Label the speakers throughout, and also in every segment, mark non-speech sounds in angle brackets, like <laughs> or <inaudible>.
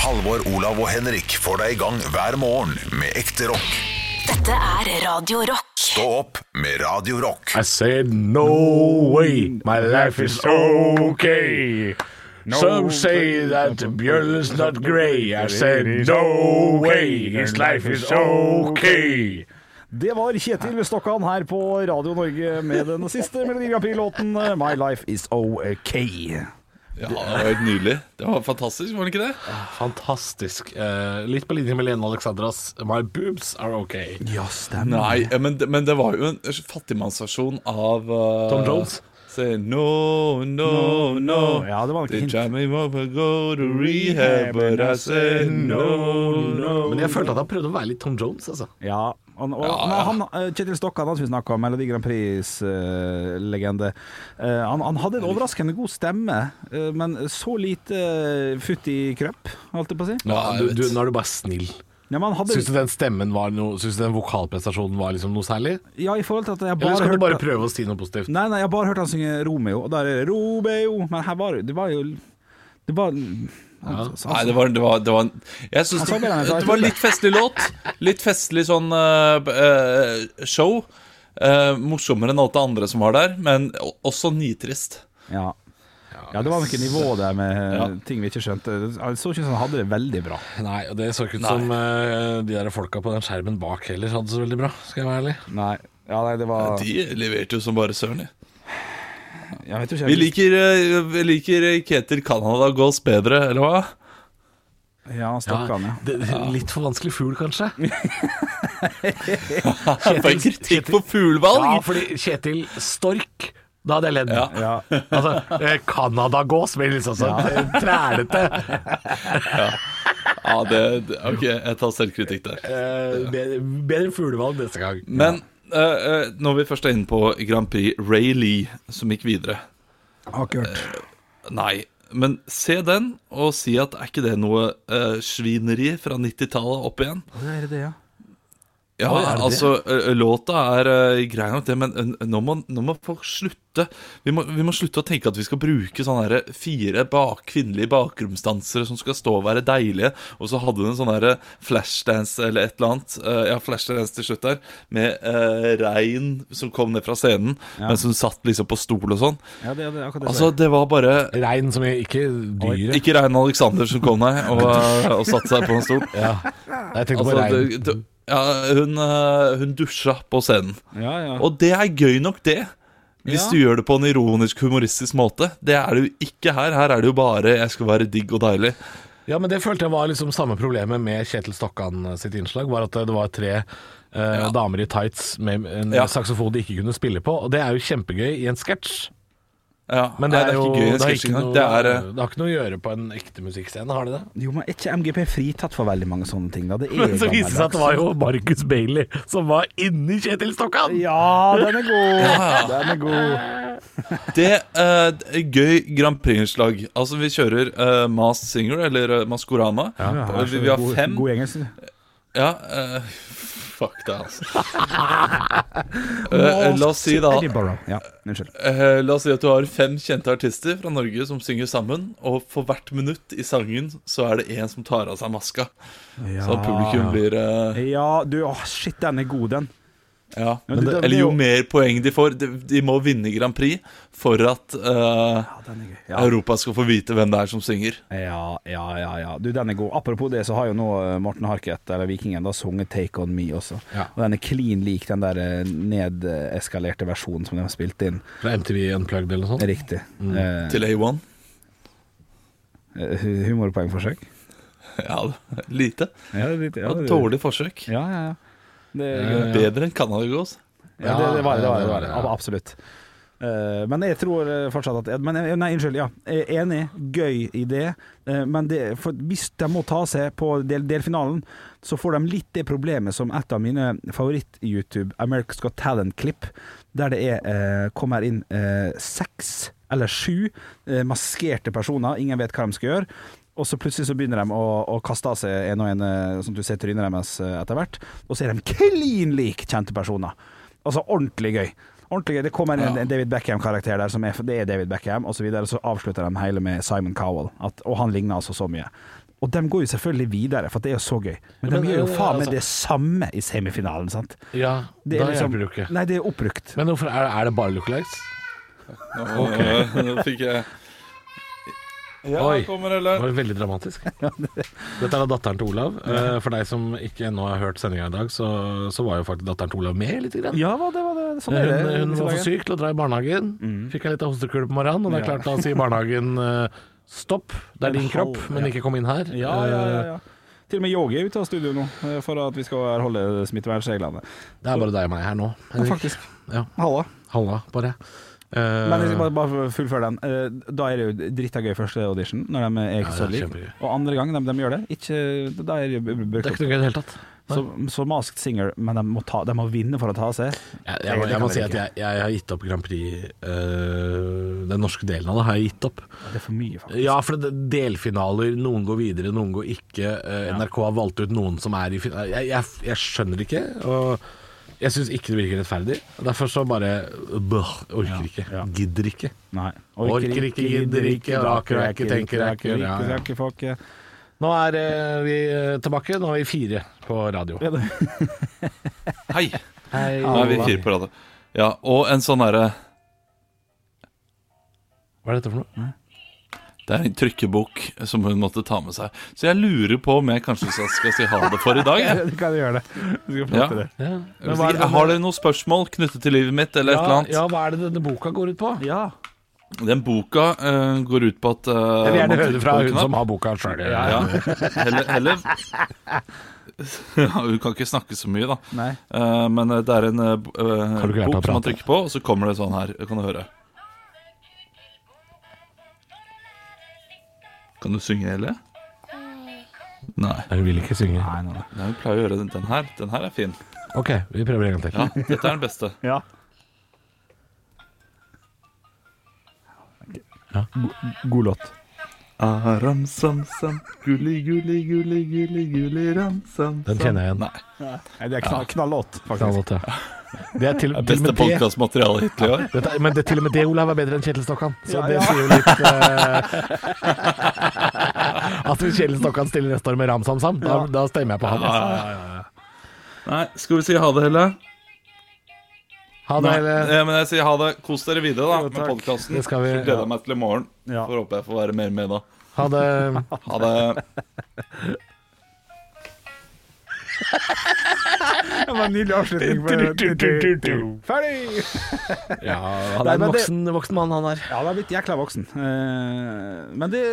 Speaker 1: Halvor, Olav og Henrik får deg i gang hver morgen med ekte rock.
Speaker 2: Dette er Radio Rock.
Speaker 1: Stå opp med Radio Rock.
Speaker 3: I said, no way, my life is okay. Some say that the Björn is not grey. I said, no way, his life is okay.
Speaker 4: Det var Kjetil Stokkan her på Radio Norge med den siste Melodi Grand Prix-låten eh, 'My Life Is OK'.
Speaker 5: Ja, det var helt nydelig. Det var fantastisk, var det ikke det?
Speaker 3: Fantastisk. Eh, litt på linje med Lene Alexandras My boobs are okay.
Speaker 4: Ja, stemmer.
Speaker 5: Nei, eh, men, men det var jo en fattigmannsversjon av eh,
Speaker 3: Tom Jones.
Speaker 5: Say no, no, no.
Speaker 4: Ja, det var
Speaker 5: They
Speaker 4: ikke hint.
Speaker 5: try me up and go to rehab, but I say no, no.
Speaker 3: Men jeg følte at han prøvde å være litt Tom Jones, altså.
Speaker 4: Ja, han, og,
Speaker 5: Ja,
Speaker 4: men
Speaker 5: ja.
Speaker 4: Han, eh, Kjetil Stokkan, han som vi snakka om, Melodi Grand Prix-legende Eh, han, han hadde en overraskende god stemme, eh, men så lite eh, futt i krøpp, holdt jeg på å si.
Speaker 5: Ja,
Speaker 3: du,
Speaker 5: jeg
Speaker 3: du,
Speaker 5: vet.
Speaker 3: nå er du bare snill.
Speaker 4: Ja, men han hadde,
Speaker 3: Syns du den stemmen var noe Syns du den vokalprestasjonen var liksom noe særlig?
Speaker 4: ja, i forhold til at jeg
Speaker 3: Eller
Speaker 4: bare
Speaker 3: skal du
Speaker 4: hørte-
Speaker 3: bare prøve å si noe positivt?
Speaker 4: Nei, nei, jeg har bare hørt han synge Romeo, og der er det Romeo. Men her var det var jo Det var altså,
Speaker 5: Nei, det var, det var, det var en- Jeg syns
Speaker 4: sa
Speaker 5: det,
Speaker 4: bare nei, så jeg
Speaker 5: det var
Speaker 4: tror det.
Speaker 5: litt festlig låt. Litt festlig sånn eh, b- eh, show. Eh, morsommere enn alt det andre som var der, men o- også nitrist.
Speaker 4: ja. ja, det var noe nivå der med eh, ting vi ikke skjønte. Jeg så ikke ut som han hadde det veldig bra.
Speaker 3: Nei, og det så ikke ut
Speaker 5: Nei.
Speaker 3: som eh, de der folka på den skjermen bak heller hadde det så veldig bra, skal jeg være ærlig.
Speaker 4: Nei, ja, nei det var
Speaker 5: De leverte jo som bare søren. de.
Speaker 4: jeg vet ikke,
Speaker 5: Vi liker, eh, vi liker Keter Canada Goals bedre, eller hva?
Speaker 4: Ja, Stokkan, ja.
Speaker 3: det, litt for vanskelig fugl, kanskje?
Speaker 5: For en kritikk på
Speaker 3: Ja,
Speaker 5: fuglevalg!
Speaker 3: fordi Kjetil Stork da hadde jeg ledd.
Speaker 5: Ja.
Speaker 4: Ja.
Speaker 3: Altså, eh, Canadagås blir liksom sånn ja. trælete.
Speaker 5: Ja, det, det, ok, jeg tar selvkritikk der.
Speaker 3: Eh, bedre bedre fuglevalg neste gang.
Speaker 5: Men eh, eh, når vi først er inne på Grand Prix, Ray Lee som gikk videre
Speaker 4: Har ikke hørt.
Speaker 5: Nei, men se den og si at er ikke det noe eh, svineri fra 90-tallet opp igjen?
Speaker 4: Det er det, ja.
Speaker 5: Ja,
Speaker 3: er det
Speaker 5: altså, eh, låta er eh, grei nok det, men eh, nå, må, nå må folk slutte. Vi må, vi må slutte å tenke at vi skal bruke sånne her fire bak, kvinnelige bakgrunnsdansere som skal stå og være deilige, og så hadde hun en sånn her flashdance eller et eller annet, eh, ja, flashdance til slutt der, med eh, regn som kom ned fra scenen, mens hun satt liksom på stol og sånn.
Speaker 4: ja det, det, er akkurat det.
Speaker 5: Altså, det var bare
Speaker 3: Rein som i- ikke dyret.
Speaker 5: ikke Rein Alexander som kom ned og, og satte seg på en stol.
Speaker 3: Ja. Jeg tenkte på
Speaker 5: Altså,
Speaker 3: rein.
Speaker 5: det, det, ja, hun, eh, hun dusja på scenen.
Speaker 4: ja, ja.
Speaker 5: Og det er gøy nok, det. Hvis
Speaker 4: Ja.
Speaker 5: du gjør det på en ironisk, humoristisk måte. Det er det jo ikke her. Her er det jo bare 'jeg skal være digg og deilig'.
Speaker 3: Ja, men det følte jeg var liksom samme problemet med Kjetil Stokkan eh, sitt innslag, var at det var tre eh, damer i tights med en
Speaker 5: Ja.
Speaker 3: saksofon de ikke kunne spille på, og det er jo kjempegøy i en sketsj.
Speaker 5: Ja,
Speaker 3: Men det
Speaker 5: nei,
Speaker 3: er, jo
Speaker 5: ikke gøy.
Speaker 3: det har
Speaker 5: sketsj
Speaker 3: ikke
Speaker 5: engang.
Speaker 3: noe,
Speaker 5: Det er, eh,
Speaker 3: det har ikke noe å gjøre på en ekte musikkscene, har det det?
Speaker 4: Jo, men er ikke MGP fritatt for veldig mange sånne ting, da? Det er
Speaker 3: Men så viste <laughs> det seg at det var jo Marcus Bailey som var inni Kjetil Stokkan!
Speaker 4: Ja, den er god! Den er god.
Speaker 5: det eh, det er gøy Grand Prix-innslag. Altså, vi kjører uh, Masked Singer, eller uh, Maskorama.
Speaker 4: Ja, altså,
Speaker 5: vi, vi har
Speaker 4: god-
Speaker 5: fem.
Speaker 4: God engelsk.
Speaker 5: Ja, eh, fuck det,
Speaker 4: <laughs>
Speaker 5: altså. Eh, eh, la oss si da
Speaker 4: Edinburgh. Ja, unnskyld.
Speaker 5: Eh, La oss si at du har fem kjente artister fra Norge som synger sammen, og for hvert minutt i sangen så er det én som tar av seg maska. Så publikum blir eh,
Speaker 4: Ja, du, åh, shit, den er god, den.
Speaker 5: Ja.
Speaker 4: Men du, det-
Speaker 5: Eller jo
Speaker 4: det-
Speaker 5: mer poeng de får De, de må vinne Grand Prix for at eh,
Speaker 4: Den er gøy. Ja.
Speaker 5: Europa skal få vite hvem det er som synger.
Speaker 4: Ja, ja, ja, ja. Du, den er god. Apropos det, så har jo nå eh, Morten Harket, eller Vikingen, da sunget 'Take On Me' også.
Speaker 3: Ja.
Speaker 4: Og den er clean lik den der eh, nedeskalerte versjonen som de har spilt inn.
Speaker 3: Fra MTV Unplugged eller noe sånt.
Speaker 4: Riktig. Eh,
Speaker 5: Til A1.
Speaker 4: eh, hu- humorpoengforsøk?
Speaker 5: <laughs> Ja, lite.
Speaker 4: Ja, det, ja,
Speaker 5: Det var
Speaker 4: det-
Speaker 5: et dårlig forsøk.
Speaker 4: Ja, ja, ja. Det,
Speaker 5: Bedre enn Canada altså. Goes.
Speaker 4: ja, det, det var det. det, var, det, var, det.
Speaker 3: Ja, ja.
Speaker 4: Ab- Absolutt. Eh, men jeg tror eh, fortsatt at men, eh, Nei, unnskyld. Ja. Jeg er Enig. Gøy idé. eh, men det, for hvis de må ta seg på del, delfinalen, så får de litt det problemet som et av mine favoritt-YouTube, America's Got Talent-klipp, der det er, eh, kommer inn eh, seks eller sju eh, maskerte personer, ingen vet hva de skal gjøre. Og så plutselig så begynner de å, å kaste av seg en og en, eh, sånn at du ser trynet deres eh, etter hvert. Og så er de klin lik kjente personer. Altså ordentlig gøy. Ordentlig gøy. Det kommer en, en David Beckham-karakter der som er, det er David Beckham, og så, videre, og så avslutter de hele med Simon Cowell. At, og han ligner altså så mye. Og de går jo selvfølgelig videre, for det er jo så gøy. Men,
Speaker 3: Men,
Speaker 4: de gjør jo
Speaker 3: eh,
Speaker 4: faen
Speaker 3: altså-
Speaker 4: meg det samme i semifinalen, sant?
Speaker 3: Ja,
Speaker 4: Det liksom-
Speaker 3: da hjelper det jo ikke.
Speaker 4: Nei, det er oppbrukt.
Speaker 3: Men hvorfor er, er det bare lookalikes?
Speaker 5: Nå, <laughs> nå fikk jeg Ja,
Speaker 3: Oi.
Speaker 5: kommer
Speaker 3: Det
Speaker 5: Ellen.
Speaker 3: var veldig
Speaker 4: <laughs>
Speaker 3: dramatisk. Dette er da datteren til Olav. Eh, For deg som ikke ennå har hørt sendinga i dag, så, så var jo faktisk datteren til Olav med lite grann.
Speaker 4: Ja, hva, det var det. Sånn er det.
Speaker 3: Hun, hun
Speaker 4: disse
Speaker 3: var for
Speaker 4: dager.
Speaker 3: syk til å dra i barnehagen. Fikk ei lita hostekule på morgenen, og det er
Speaker 4: Ja.
Speaker 3: klart da
Speaker 4: <laughs>
Speaker 3: sier barnehagen eh, stopp, det er
Speaker 4: En
Speaker 3: din kropp,
Speaker 4: halv,
Speaker 3: men
Speaker 4: ja.
Speaker 3: ikke kom inn her. Eh,
Speaker 4: Ja, ja, ja, ja. Til og med Yogi er ute av studio nå, eh, for at vi skal holde smittevernreglene.
Speaker 3: Eh, Det er bare deg og meg her nå.
Speaker 4: Ja,
Speaker 3: Henrik.
Speaker 4: faktisk.
Speaker 3: Ja.
Speaker 4: Halla.
Speaker 3: Halla, bare. Eh,
Speaker 4: Men jeg skal bare, bare fullføre den. Eh, Da er det jo drita gøy første audition, når de er ikke
Speaker 3: Ja,
Speaker 4: så
Speaker 3: det er
Speaker 4: like.
Speaker 3: kjempegøy.
Speaker 4: Og andre gang de, de gjør det, ikke, da er det jo brukt
Speaker 3: Eh, det er
Speaker 4: opp.
Speaker 3: ikke noe gøy i det hele tatt. Nei.
Speaker 4: Så, så Masked Singer, men de må, ta, de må vinne for å ta seg.
Speaker 3: Jeg, jeg, må-
Speaker 4: Det
Speaker 3: jeg
Speaker 4: kan
Speaker 3: må
Speaker 4: dere
Speaker 3: si at
Speaker 4: ikke.
Speaker 3: jeg, jeg har gitt opp Grand Prix eh, Den norske delen av det har jeg gitt opp.
Speaker 4: Det er for mye, faktisk.
Speaker 3: Ja, for det, delfinaler, noen går videre, noen går ikke. Eh, NRK har valgt ut noen som er i finalen. Jeg, jeg, jeg skjønner ikke, og jeg syns ikke det virker rettferdig. Derfor så bare bøh, orker ikke.
Speaker 4: ja.
Speaker 3: Gidder ikke.
Speaker 4: Nei.
Speaker 3: Orker ikke, gidder ikke, raker og ikke, tenker ikke,
Speaker 4: raker,
Speaker 3: ja,
Speaker 4: ikke,
Speaker 3: ja.
Speaker 4: raker, fuck, ja.
Speaker 3: Nå er eh, vi eh, tilbake. Nå er vi fire på radio.
Speaker 4: Ja, det- <laughs>
Speaker 5: Hei.
Speaker 3: Hei,
Speaker 5: Nå er vi fire på rad. Ja, og en sånn herre
Speaker 3: Hva er dette for noe?
Speaker 5: Det er en trykkebok som hun måtte ta med seg. Så jeg lurer på om jeg kanskje skal- skal si ha det
Speaker 3: <laughs>
Speaker 5: for i dag. jeg.
Speaker 4: Du kan gjøre det. Du skal få
Speaker 5: Ja.
Speaker 4: til det.
Speaker 3: Ja.
Speaker 5: Hvis
Speaker 3: hva er
Speaker 5: ikke,
Speaker 3: det-
Speaker 5: har dere noen spørsmål knyttet til livet mitt, eller et eller
Speaker 3: ja,
Speaker 5: annet?
Speaker 3: ja, hva er det denne boka går ut på?
Speaker 4: Ja.
Speaker 5: Den boka eh, går ut på at eh,
Speaker 3: Jeg vil gjerne
Speaker 5: man
Speaker 3: høre
Speaker 5: trykker
Speaker 3: fra
Speaker 5: på en
Speaker 3: hun
Speaker 5: knapp.
Speaker 3: som har boka sjøl.
Speaker 5: ja. Heller, heller <laughs> ja, Hun kan ikke snakke så mye, da.
Speaker 4: Nei.
Speaker 5: Eh, men eh, det er en eh, b- eh,
Speaker 3: du ikke lært deg å
Speaker 5: bok som man
Speaker 3: prate?
Speaker 5: trykker på, og så kommer det sånn her. Kan du høre? Kan du synge, Helle? Nei.
Speaker 3: Hun vil ikke synge.
Speaker 4: Nei, nå da.
Speaker 5: Nei, Hun pleier å gjøre den, den her. Den her er fin.
Speaker 3: OK, vi prøver en gang til.
Speaker 5: Ja, dette er den beste.
Speaker 4: Ja.
Speaker 3: Ja.
Speaker 4: Go- God låt.
Speaker 5: Aram sam sam, gulli gulli gulli gulli gulli ram sam
Speaker 3: Den kjenner jeg igjen.
Speaker 5: Nei.
Speaker 4: Nei, det er knall, knallåt, faktisk.
Speaker 3: Knallhått, ja. Det er til, til og
Speaker 5: Beste
Speaker 3: med det
Speaker 5: podkastmaterialet hittil i år.
Speaker 3: Dette, men det, til og med det, Olav, er bedre enn Kjetil Stokkan. Så
Speaker 4: Ja,
Speaker 3: det
Speaker 4: ja.
Speaker 3: sier jo litt eh, <laughs> At hvis Kjetil Stokkan stiller neste år med Ramsamsam, da, da stemmer jeg på han. Altså.
Speaker 5: <laughs> Nei, skal vi si ha det, Helle?
Speaker 3: Ha det,
Speaker 5: Nei,
Speaker 3: eller
Speaker 5: eh, men jeg sier ha det. Kos dere videre da med
Speaker 4: takk.
Speaker 5: podkasten.
Speaker 3: Det skal vi,
Speaker 5: Gleder jeg meg til i morgen.
Speaker 4: Ja.
Speaker 5: Får håpe jeg får være mer med da.
Speaker 3: Ha det.
Speaker 5: Ha det.
Speaker 4: Det var en nydelig avslutning. <laughs> på- Ferdig!
Speaker 3: Ja, han
Speaker 4: Nei,
Speaker 3: er en
Speaker 4: men det-
Speaker 3: voksen, voksen mann, han her.
Speaker 4: Ja, han har blitt jækla voksen. Eh, Men det,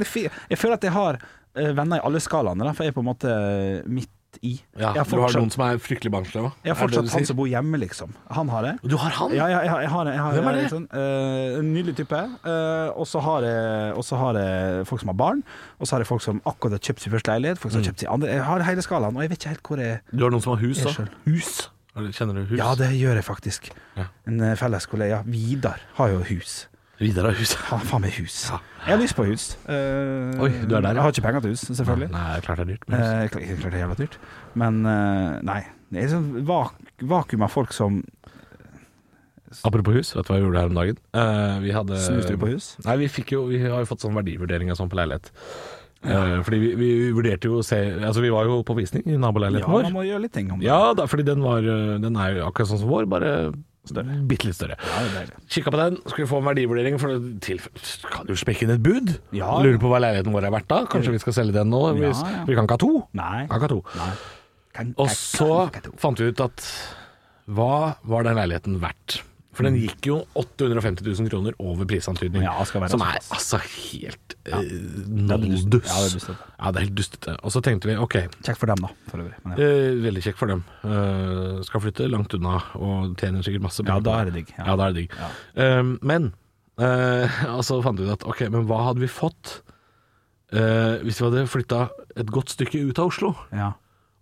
Speaker 4: det fi- Jeg føler at jeg har eh, venner i alle skalaene, da, for jeg er på en måte eh, midt i.
Speaker 3: Ja,
Speaker 4: jeg har
Speaker 3: du har
Speaker 4: fortsatt,
Speaker 3: noen som er fryktelig barnslige òg.
Speaker 4: jeg har fortsatt han som bor hjemme, liksom. Han har det.
Speaker 3: Du har han?
Speaker 4: Ja, ja, jeg har, jeg har, jeg har,
Speaker 3: Hvem er det?
Speaker 4: jeg har en sånn, eh, en nydelig type. Eh, og så har, jeg- og så har jeg folk som har barn, og så har jeg folk som akkurat har kjøpt sin første leilighet, folk som
Speaker 3: Mm.
Speaker 4: har kjøpt sin andre Jeg har hele skalaen, og jeg vet ikke helt hvor jeg
Speaker 3: Du har noen som har hus,
Speaker 4: Jeg
Speaker 3: da?
Speaker 4: selv.
Speaker 3: Hus? Eller Kjenner du hus?
Speaker 4: Ja, det gjør jeg faktisk.
Speaker 3: Ja.
Speaker 4: En eh, felles kollega, Vidar, har jo hus.
Speaker 3: Vidar har hus.
Speaker 4: Han har faen meg hus. Jeg har lyst på hus. Eh,
Speaker 3: Oi, du er der, ja.
Speaker 4: Jeg har ikke penger til hus, selvfølgelig.
Speaker 3: Nei, klart det er dyrt.
Speaker 4: Eh,
Speaker 3: Men hus.
Speaker 4: kl- klart det er jævla dyrt. Men eh, nei. Det er sånn vak vakuum av folk som
Speaker 3: Apropos hus, vet du hva jeg gjorde her om dagen? Eh, vi hadde
Speaker 4: snuser på hus.
Speaker 3: Nei, vi, fikk jo, vi har jo fått sånn verdivurdering og sånn på leilighet. Eh, fordi vi, vi vurderte jo å se Altså, vi var jo på visning i
Speaker 4: Ja,
Speaker 3: naboleiligheten
Speaker 4: man
Speaker 3: vår.
Speaker 4: må gjøre litt ting om det.
Speaker 3: Ja da, fordi den, var, eh, den er jo akkurat sånn som vår, bare bitte litt større.
Speaker 4: Ja, det er deilig.
Speaker 3: Kikka på den, skulle få en verdivurdering, for det tilf- kan du smekke inn et bud?
Speaker 4: Ja.
Speaker 3: Lurer på hva leiligheten vår er verdt da? Kanskje vi skal selge den nå? Vi,
Speaker 4: Ja, ja.
Speaker 3: vi kan ikke ha to?
Speaker 4: Nei.
Speaker 3: Kan ikke ha to.
Speaker 4: Nei. Kan-
Speaker 3: Og
Speaker 4: kan-
Speaker 3: så
Speaker 4: kan- kan- kan-
Speaker 3: fant vi ut at hva var den leiligheten verdt? For den gikk jo 850 000 kroner over prisantydning.
Speaker 4: Mm. Ja, skal være
Speaker 3: som er
Speaker 4: såpass.
Speaker 3: altså helt ja.
Speaker 4: er
Speaker 3: noldus.
Speaker 4: dustete. Ja, det er dustete.
Speaker 3: Ja, det er helt dustete. Og så tenkte vi ok,
Speaker 4: Kjekk for dem, da, for øvrig. Men ja.
Speaker 3: eh, veldig kjekk for dem. Eh, skal flytte langt unna og tjener sikkert masse
Speaker 4: Ja,
Speaker 3: penger.
Speaker 4: da
Speaker 3: på
Speaker 4: er det digg,
Speaker 3: Ja,
Speaker 4: ja.
Speaker 3: da er det digg. Eh, men eh, <laughs> Og så fant vi ut at ok, men hva hadde vi fått eh, hvis vi hadde flytta et godt stykke ut av Oslo?
Speaker 4: ja.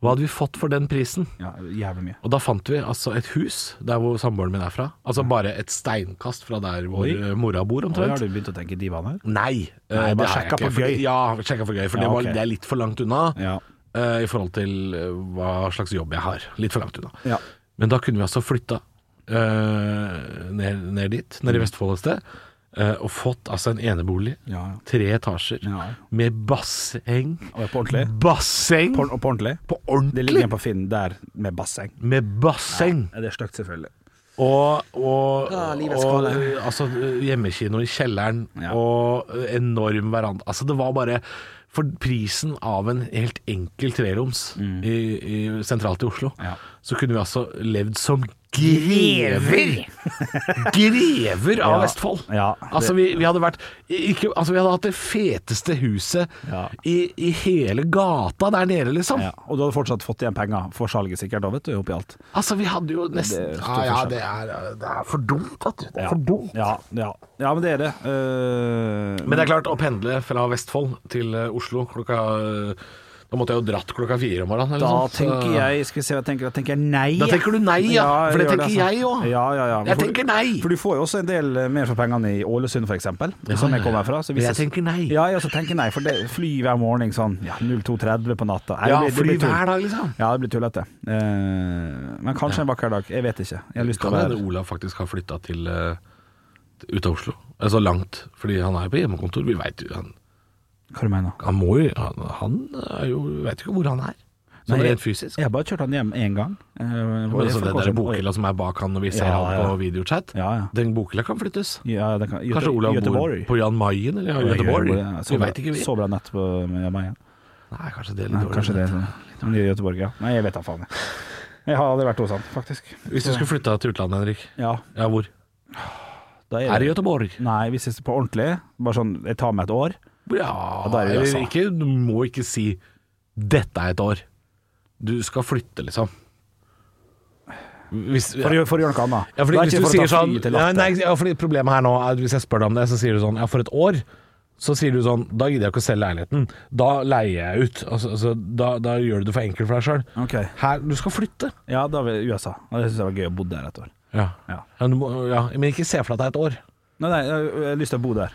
Speaker 3: Hva hadde vi fått for den prisen?
Speaker 4: ja jævlig mye.
Speaker 3: Og da fant vi altså et hus der hvor samboeren min er fra. Altså bare et steinkast fra der hvor
Speaker 4: Mm. Oi.
Speaker 3: eh, mora bor,
Speaker 4: Nå har
Speaker 3: omtrent.
Speaker 4: du begynt å tenke divan her?
Speaker 3: Nei, eh,
Speaker 4: Nei, bare
Speaker 3: det har jeg
Speaker 4: sjekka
Speaker 3: ikke,
Speaker 4: for
Speaker 3: fordi-
Speaker 4: gøy.
Speaker 3: Ja, sjekka for gøy, for
Speaker 4: Ja,
Speaker 3: det, var,
Speaker 4: ok.
Speaker 3: det er litt for langt unna
Speaker 4: Ja.
Speaker 3: eh, i forhold til eh, hva slags jobb jeg har. Litt for langt unna.
Speaker 4: Ja. Mm.
Speaker 3: Men da kunne vi altså flytta eh, ned, ned dit, ned i Vestfold et sted. eh, og fått altså en enebolig,
Speaker 4: Ja, ja.
Speaker 3: tre etasjer,
Speaker 4: Ja.
Speaker 3: med basseng.
Speaker 4: Og på ordentlig.
Speaker 3: Basseng!
Speaker 4: På, og på ordentlig.
Speaker 3: På
Speaker 4: Det
Speaker 3: ordentlig!
Speaker 4: ligger en på Finn der med basseng.
Speaker 3: Med basseng!
Speaker 4: Ja, det er stygt, selvfølgelig.
Speaker 3: Og, og,
Speaker 4: Ah, livets
Speaker 3: og
Speaker 4: skåle.
Speaker 3: eh, altså, eh, hjemmekino i kjelleren
Speaker 4: Ja.
Speaker 3: og eh, enorm veranda. Altså, det var bare For prisen av en helt enkel treroms i, i, sentralt i Oslo,
Speaker 4: Mm. Ja.
Speaker 3: så kunne vi altså levd som grever! grever av
Speaker 4: Ja.
Speaker 3: Vestfold!
Speaker 4: Ja, det-
Speaker 3: altså, vi, vi hadde vært ikke, altså, Vi hadde hatt det feteste huset
Speaker 4: Ja.
Speaker 3: i, i hele gata der nede, liksom.
Speaker 4: Ja. Og du hadde fortsatt fått igjen penger for salget, sikkert, da, vet du, oppi alt.
Speaker 3: Altså, vi hadde jo nesten
Speaker 4: Det er stor
Speaker 3: Ja, ja,
Speaker 4: forskjell.
Speaker 3: det er, det er for dumt, vet du. Det er
Speaker 4: Ja.
Speaker 3: for dumt.
Speaker 4: Ja, ja. ja men det er det. Eh,
Speaker 3: Men det er klart, å pendle fra Vestfold til eh, Oslo klokka eh, Da måtte jeg jo dratt klokka fire om morgenen. eller
Speaker 4: da
Speaker 3: noe sånt, sånn så-
Speaker 4: tenker jeg Skal vi se hva jeg tenker? Da tenker jeg nei.
Speaker 3: Da tenker du nei, ja. for det
Speaker 4: gjør
Speaker 3: tenker
Speaker 4: altså.
Speaker 3: jeg òg.
Speaker 4: Ja, ja, ja.
Speaker 3: Jeg
Speaker 4: For-
Speaker 3: tenker nei.
Speaker 4: For du får jo også en del eh, mer for pengene i Ålesund, f.eks., som jeg kommer fra. Så
Speaker 3: Men jeg tenker nei.
Speaker 4: Ja, jeg også tenker nei, for det fly hver morgen sånn ja, 02.30 på natta. Nei,
Speaker 3: Ja,
Speaker 4: det blir- det
Speaker 3: fly
Speaker 4: blir tull.
Speaker 3: hver dag, liksom.
Speaker 4: Ja, det blir tullete. Eh, men kanskje en vakker dag. Jeg vet ikke. Jeg har lyst til å
Speaker 3: Kan hende
Speaker 4: være
Speaker 3: Olav faktisk har flytta til eh, ut av Oslo. Altså langt. Fordi han er på hjemmekontor. Vi veit jo han,
Speaker 4: Hva du mener
Speaker 3: han må jo Han, han er jo Veit jo ikke hvor han er. Sånn
Speaker 4: Nei,
Speaker 3: rent fysisk.
Speaker 4: Jeg har bare kjørt han hjem én gang. Eh, hvor
Speaker 3: Men altså,
Speaker 4: jeg for
Speaker 3: den
Speaker 4: kanskje-
Speaker 3: der bokhylla som er bak han når vi ser
Speaker 4: Ja,
Speaker 3: han
Speaker 4: ja.
Speaker 3: på videochat,
Speaker 4: Ja, ja.
Speaker 3: den bokhylla kan flyttes.
Speaker 4: ja det kan, Göte,
Speaker 3: Kanskje Olav bor
Speaker 4: Göteborg.
Speaker 3: på Jan Mayen eller
Speaker 4: Ja,
Speaker 3: Göteborg?
Speaker 4: ja. Så
Speaker 3: Vi
Speaker 4: bra-
Speaker 3: veit ikke, vi.
Speaker 4: Så bra nett på med meg igjen.
Speaker 3: Nei, kanskje det er litt
Speaker 4: Nei,
Speaker 3: dårlig.
Speaker 4: kanskje det. Sånn. Nye Göteborg, ja. Nei, jeg vet da faen. jeg. Jeg har aldri vært hos han, faktisk.
Speaker 3: Hvis du skulle flytta til utlandet, Henrik.
Speaker 4: Ja,
Speaker 3: Ja, hvor?
Speaker 4: da
Speaker 3: Er
Speaker 4: er
Speaker 3: det
Speaker 4: det
Speaker 3: Göteborg?
Speaker 4: Nei, hvis jeg på ordentlig, bare sånn Jeg tar meg et år.
Speaker 3: Ja,
Speaker 4: da er det
Speaker 3: eller
Speaker 4: altså. USA.
Speaker 3: ikke, du må ikke si 'dette er et år'. Du skal flytte, liksom. Hvis,
Speaker 4: For,
Speaker 3: ja,
Speaker 4: å gjøre- for å gjøre noe annet.
Speaker 3: fordi
Speaker 4: Da er
Speaker 3: hvis du
Speaker 4: ikke for å ta
Speaker 3: sier
Speaker 4: fly
Speaker 3: sånn
Speaker 4: til
Speaker 3: ja,
Speaker 4: Latter.
Speaker 3: nei, ja, fordi Problemet her nå er at hvis jeg spør deg om det, så sier du sånn 'ja, for et år'. Så sier du sånn 'da gidder jeg ikke å selge leiligheten'. Da leier jeg ut. Altså, altså, da, da gjør du det for enkelt for deg sjøl.
Speaker 4: Ok.
Speaker 3: Her Du skal flytte.
Speaker 4: Ja, da vil USA. Og det syns jeg var gøy å bo der et år.
Speaker 3: Ja.
Speaker 4: Ja.
Speaker 3: Ja, du må, ja. Men ikke se for deg at det er et år.
Speaker 4: Nei, nei, jeg jeg har lyst til å bo der.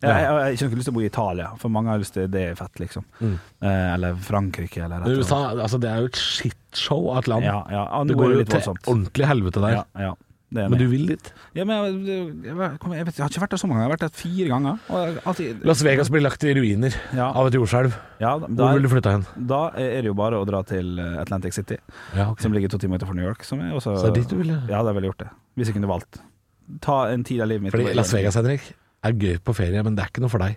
Speaker 4: Jeg, jeg, jeg, har ikke lyst til å bo i Italia, for mange har lyst til det er fett, liksom. Eh, eller Frankrike, eller
Speaker 3: Mm. Men
Speaker 4: et eller
Speaker 3: USA, altså det er jo et shitshow av et land.
Speaker 4: Ja, ja, ja, nå
Speaker 3: det
Speaker 4: er
Speaker 3: går
Speaker 4: det
Speaker 3: jo
Speaker 4: litt
Speaker 3: til
Speaker 4: voldsomt.
Speaker 3: ordentlig helvete der.
Speaker 4: Ja, ja, det er
Speaker 3: Men du
Speaker 4: enig.
Speaker 3: vil dit.
Speaker 4: ja, men jeg, jeg, jeg, jeg, vet, jeg har ikke vært der så mange ganger, jeg har vært der fire ganger. Og jeg, alltid,
Speaker 3: Las Vegas blir lagt i ruiner
Speaker 4: Ja.
Speaker 3: av et jordskjelv.
Speaker 4: ja,
Speaker 3: Hvor vil du
Speaker 4: da,
Speaker 3: flytte hen?
Speaker 4: da er det jo bare å dra til eh, Atlantic City,
Speaker 3: Ja, ok.
Speaker 4: som ligger to timer utenfor New York. Som er også,
Speaker 3: Så det er dit du vil? ja.
Speaker 4: Ja, da ville jeg gjort det. Hvis jeg kunne valgt. Ta en tid av livet mitt.
Speaker 3: Fordi Las Vegas, Henrik, er gøy på ferie, men det er ikke noe for deg.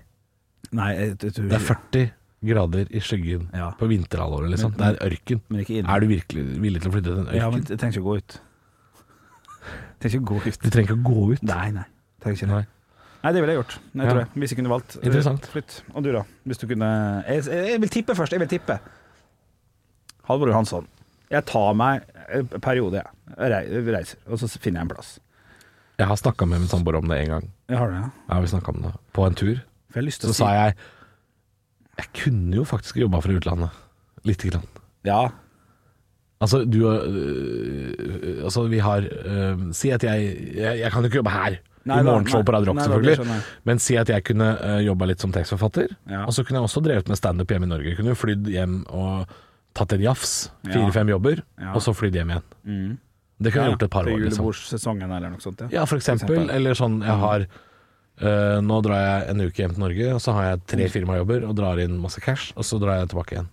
Speaker 4: Nei, jeg, jeg, tror-
Speaker 3: Det er 40 grader i skyggen
Speaker 4: Ja.
Speaker 3: på vinterhalvåret, liksom. Det
Speaker 4: Men-
Speaker 3: er ørken.
Speaker 4: men ikke inn.
Speaker 3: Er du virkelig villig til å flytte til en ørken?
Speaker 4: Ja, men jeg trenger ikke å gå ut. Jeg trenger ikke å gå ut.
Speaker 3: <laughs> Du trenger ikke å gå ut.
Speaker 4: Nei, nei. Trenger ikke det.
Speaker 3: Nei.
Speaker 4: Nei. det ville jeg gjort. Jeg tror
Speaker 3: Ja.
Speaker 4: jeg. Hvis jeg kunne valgt. eh,
Speaker 3: Interessant.
Speaker 4: Flytt. Og du, da? Hvis du kunne Jeg, jeg vil tippe først. Jeg vil tippe. Halvor Johansson. Jeg tar meg en periode, jeg. Rei- Reiser. Og så finner jeg en plass.
Speaker 3: Jeg har snakka med min samboer om det en gang.
Speaker 4: Jeg har det, ja.
Speaker 3: Ja, vi snakket om det På en tur.
Speaker 4: For jeg har lyst til
Speaker 3: Så
Speaker 4: å si
Speaker 3: sa jeg Jeg kunne jo faktisk jobba fra utlandet. Lite grann.
Speaker 4: Ja.
Speaker 3: Altså, du og øh, Altså, vi har øh, Si at jeg, jeg Jeg kan jo ikke jobbe her.
Speaker 4: Nei
Speaker 3: I
Speaker 4: da,
Speaker 3: morgenshow
Speaker 4: nei.
Speaker 3: på Radio Rock,
Speaker 4: Nei da, det
Speaker 3: selvfølgelig.
Speaker 4: skjønner jeg.
Speaker 3: Men si at jeg kunne øh, jobba litt som tekstforfatter.
Speaker 4: Ja.
Speaker 3: Og så kunne jeg også drevet med standup hjemme i Norge. Jeg kunne jo flydd hjem og tatt en jafs.
Speaker 4: Ja.
Speaker 3: Fire-fem jobber,
Speaker 4: Ja. Mm.
Speaker 3: og så flydd hjem igjen. Det kunne jeg gjort et par
Speaker 4: For
Speaker 3: år, liksom.
Speaker 4: Julebordssesongen eller noe sånt, ja.
Speaker 3: Ja, for eksempel.
Speaker 4: For eksempel. Mm.
Speaker 3: Eller sånn, jeg har øh, Nå drar jeg en uke hjem til Norge, og så har jeg tre
Speaker 4: Mm.
Speaker 3: firmajobber og drar inn masse cash, og så drar jeg tilbake igjen.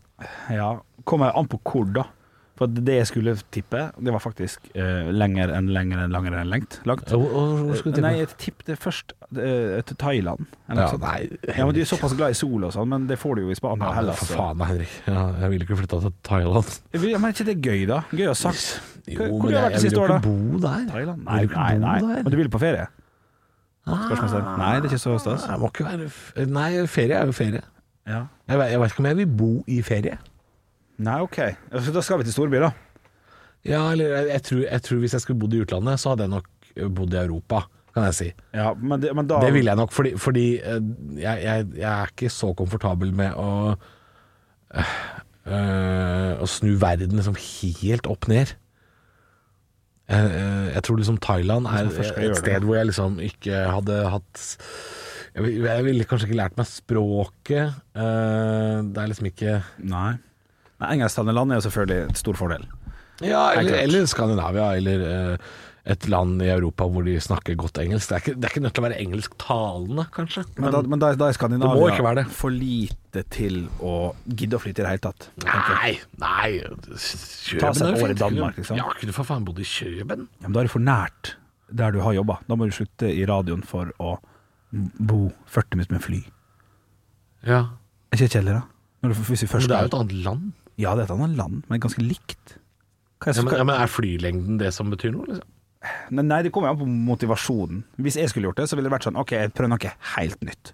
Speaker 4: Ja. Kommer an på hvor, da. For det jeg skulle tippe, det var faktisk eh, lenger enn lenger enn lenger enn lengt. Langt.
Speaker 3: Og, og, hvor skulle du
Speaker 4: Nei,
Speaker 3: til?
Speaker 4: jeg tippte først eh, til Thailand. eller noe
Speaker 3: Ja,
Speaker 4: sånt.
Speaker 3: nei,
Speaker 4: ja, men Du er såpass glad i sol og sånn, men det får du jo i
Speaker 3: Ja,
Speaker 4: Spania og
Speaker 3: men altså.
Speaker 4: Hellas.
Speaker 3: for faen da, Henrik. Ja, jeg vil ikke flytte til Thailand.
Speaker 4: Jeg vil- Ja, men er ikke det gøy, da? Gøy å ha sagt. Hvor- hvor har du vært det siste
Speaker 3: vil jo
Speaker 4: året,
Speaker 3: ikke bo der.
Speaker 4: Thailand?
Speaker 3: Jeg
Speaker 4: Nei,
Speaker 3: vil ikke
Speaker 4: nei,
Speaker 3: bo
Speaker 4: nei.
Speaker 3: der. Ah.
Speaker 4: Men du vil på ferie? Spørsmålstegn. Nei, det er ikke så stas.
Speaker 3: Nei, det må ikke være f- Nei, ferie er jo ferie.
Speaker 4: Ja.
Speaker 3: Jeg vet, jeg vet ikke om jeg vil bo i ferie.
Speaker 4: Nei, OK. Ja, så Da skal vi til storby, da.
Speaker 3: Ja, eller jeg, jeg, tror, jeg tror hvis jeg skulle bodd i utlandet, så hadde jeg nok bodd i Europa, kan jeg si.
Speaker 4: Ja, men, det, men da
Speaker 3: Det ville jeg nok, fordi, fordi eh, jeg, jeg, jeg er ikke så komfortabel med å eh, Å snu verden liksom helt opp ned. Jeg, eh, jeg tror liksom Thailand er
Speaker 4: først skal
Speaker 3: et
Speaker 4: gjøre det.
Speaker 3: sted hvor jeg liksom ikke hadde hatt Jeg, vil- jeg ville kanskje ikke lært meg språket. eh, det er liksom ikke
Speaker 4: Nei. Nei, Engelsktalende land er jo selvfølgelig et stor fordel.
Speaker 3: Ja, eller,
Speaker 4: klart.
Speaker 3: eller Skandinavia, eller eh, et land i Europa hvor de snakker godt engelsk. Det er ikke, det er ikke nødt til å være engelsktalende, kanskje.
Speaker 4: Men, da, men da, da
Speaker 3: Det må
Speaker 4: er
Speaker 3: ikke
Speaker 4: Skandinavia
Speaker 3: være det.
Speaker 4: for lite til å gidde å flytte i det hele tatt.
Speaker 3: Nei, nei
Speaker 4: Ta
Speaker 3: er
Speaker 4: seg et
Speaker 3: jo
Speaker 4: år i
Speaker 3: fint.
Speaker 4: Danmark, liksom.
Speaker 3: Ja, kunne for faen bodd i Kjøben.
Speaker 4: Ja, men da er det for nært der du har jobba. Da må du slutte i radioen for å bo 40 minutter med fly.
Speaker 3: Ja.
Speaker 4: Er ikke kjedelig, da? Når du, hvis vi
Speaker 3: Men
Speaker 4: først
Speaker 3: det er jo et annet land.
Speaker 4: Ja, det er et annet land, men ganske likt.
Speaker 3: Ja,
Speaker 4: Hva jeg,
Speaker 3: men,
Speaker 4: skal-
Speaker 3: ja, men er flylengden det som betyr noe? Liksom?
Speaker 4: Nei, Nei, det kommer jo an på motivasjonen. Hvis jeg skulle gjort det, så ville det vært sånn OK, jeg prøver noe helt nytt.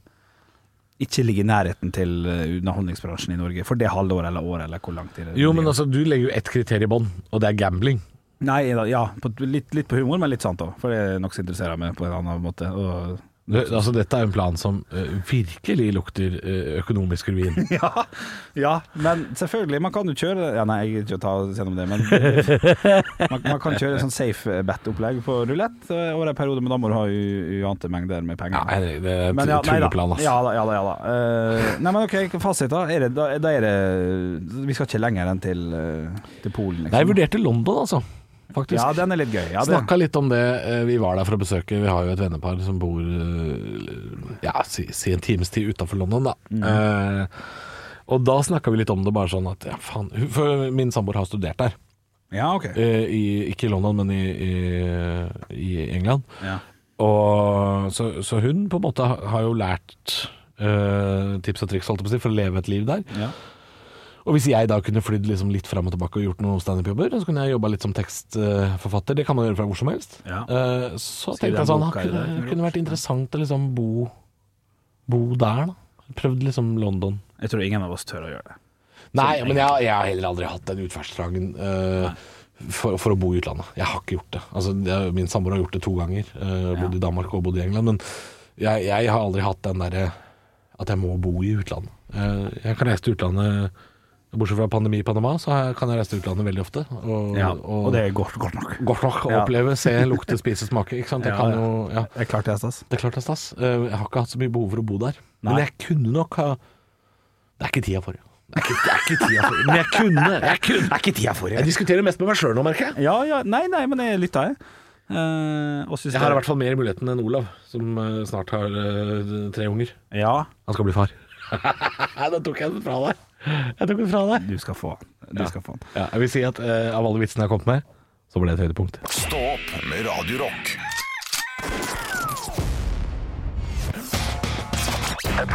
Speaker 4: Ikke ligge i nærheten til eh, underholdningsbransjen i Norge for det halvåret eller året eller hvor lang tid det
Speaker 3: Jo, men
Speaker 4: ligger.
Speaker 3: altså, du legger jo ett kriterium i bånn, og det er gambling.
Speaker 4: Nei, da- ja, på, litt, litt på humor, men litt sant òg, for det er nokså interesserer meg på en annen måte. Og,
Speaker 3: Du, altså, dette er jo en plan som eh, virkelig lukter eh, økonomisk ruin.
Speaker 4: ja, <laughs> ja, men selvfølgelig, man kan jo kjøre Ja, nei, jeg gidder ikke å ta oss gjennom det, men
Speaker 3: <laughs>
Speaker 4: man, man kan kjøre sånn safe bet-opplegg på rulett eh, over en periode, men da må du ha u- uante mengder med penger.
Speaker 3: <laughs> Ja, Henrik, det er
Speaker 4: Men ja,
Speaker 3: en
Speaker 4: nei da.
Speaker 3: tulleplan, ass.
Speaker 4: Ja da, ja da. Ja, da. Eh, nei, men ok, fasit da. Er det, da, da er det Vi skal ikke lenger enn til, eh, til Polen,
Speaker 3: Nei, jeg vurderte London, altså. Faktisk.
Speaker 4: Ja, den er litt gøy. Ja, det.
Speaker 3: Snakka litt om det. eh, Vi var der for å besøke Vi har jo et vennepar som bor eh, Ja, si, si en times tid utafor London, da.
Speaker 4: Mm.
Speaker 3: Eh, og da snakka vi litt om det, bare sånn at ja, faen hun- For min samboer har studert der.
Speaker 4: Ja, ok.
Speaker 3: eh, i, ikke i London, men i, i, i England.
Speaker 4: Ja.
Speaker 3: Og, så, så hun på en måte har har jo lært eh, tips og triks holdt jeg på å si, for å leve et liv der.
Speaker 4: Ja.
Speaker 3: Og hvis jeg da kunne flydd liksom litt fram og tilbake og gjort noen standup-jobber, så kunne jeg jobba litt som tekstforfatter. Det kan man gjøre fra hvor som helst.
Speaker 4: Ja.
Speaker 3: Eh, så
Speaker 4: Skriv
Speaker 3: tenkte
Speaker 4: den
Speaker 3: jeg sånn,
Speaker 4: boka i
Speaker 3: det kunne,
Speaker 4: det,
Speaker 3: kunne vært interessant å liksom bo, bo der, da. Prøvd liksom London.
Speaker 4: Jeg tror ingen av oss tør å gjøre det.
Speaker 3: Nei, men jeg, jeg har heller aldri hatt den utferdstrangen eh, for, for å bo i utlandet. Jeg har ikke gjort det. Altså, det- min samboer har gjort det to ganger. Uh, bodd i Danmark og bodd i England. Men jeg, jeg har aldri hatt den derre at jeg må bo i utlandet. Eh, jeg kan reise til utlandet Bortsett fra pandemi i Panama, så har jeg- kan jeg reise til utlandet veldig ofte. Og,
Speaker 4: Ja,
Speaker 3: og,
Speaker 4: og det er godt, godt nok.
Speaker 3: godt nok å
Speaker 4: Ja.
Speaker 3: oppleve, se, lukte, spise, smake. Ikke sant? Jeg
Speaker 4: Ja,
Speaker 3: kan
Speaker 4: ja.
Speaker 3: jo ja.
Speaker 4: Det er klart det, Stas.
Speaker 3: Det er klart det er stas. Eh, Jeg har ikke hatt så mye behov for å bo der. Men
Speaker 4: Nei.
Speaker 3: jeg kunne nok ha Det er ikke tida for det. Det er ikke, det er ikke tida for det. Men jeg kunne. Jeg kunne. Det er ikke tida for det. Jeg diskuterer mest med meg sjøl nå, merker jeg.
Speaker 4: Ja, ja. Nei, nei, men jeg lytta, jeg. Eh, og syns
Speaker 3: Jeg har i
Speaker 4: det-
Speaker 3: hvert fall mer muligheten enn Olav, som eh, snart har eh, tre unger.
Speaker 4: Ja,
Speaker 3: Han skal bli far. Nei, <laughs> da tok jeg den fra deg. Jeg tok den fra deg.
Speaker 4: du skal få. Du skal få den.
Speaker 3: Ja, jeg vil si at eh, av alle vitsene jeg har kommet med, så ble det et høydepunkt.
Speaker 1: Stå opp med Radio Rock.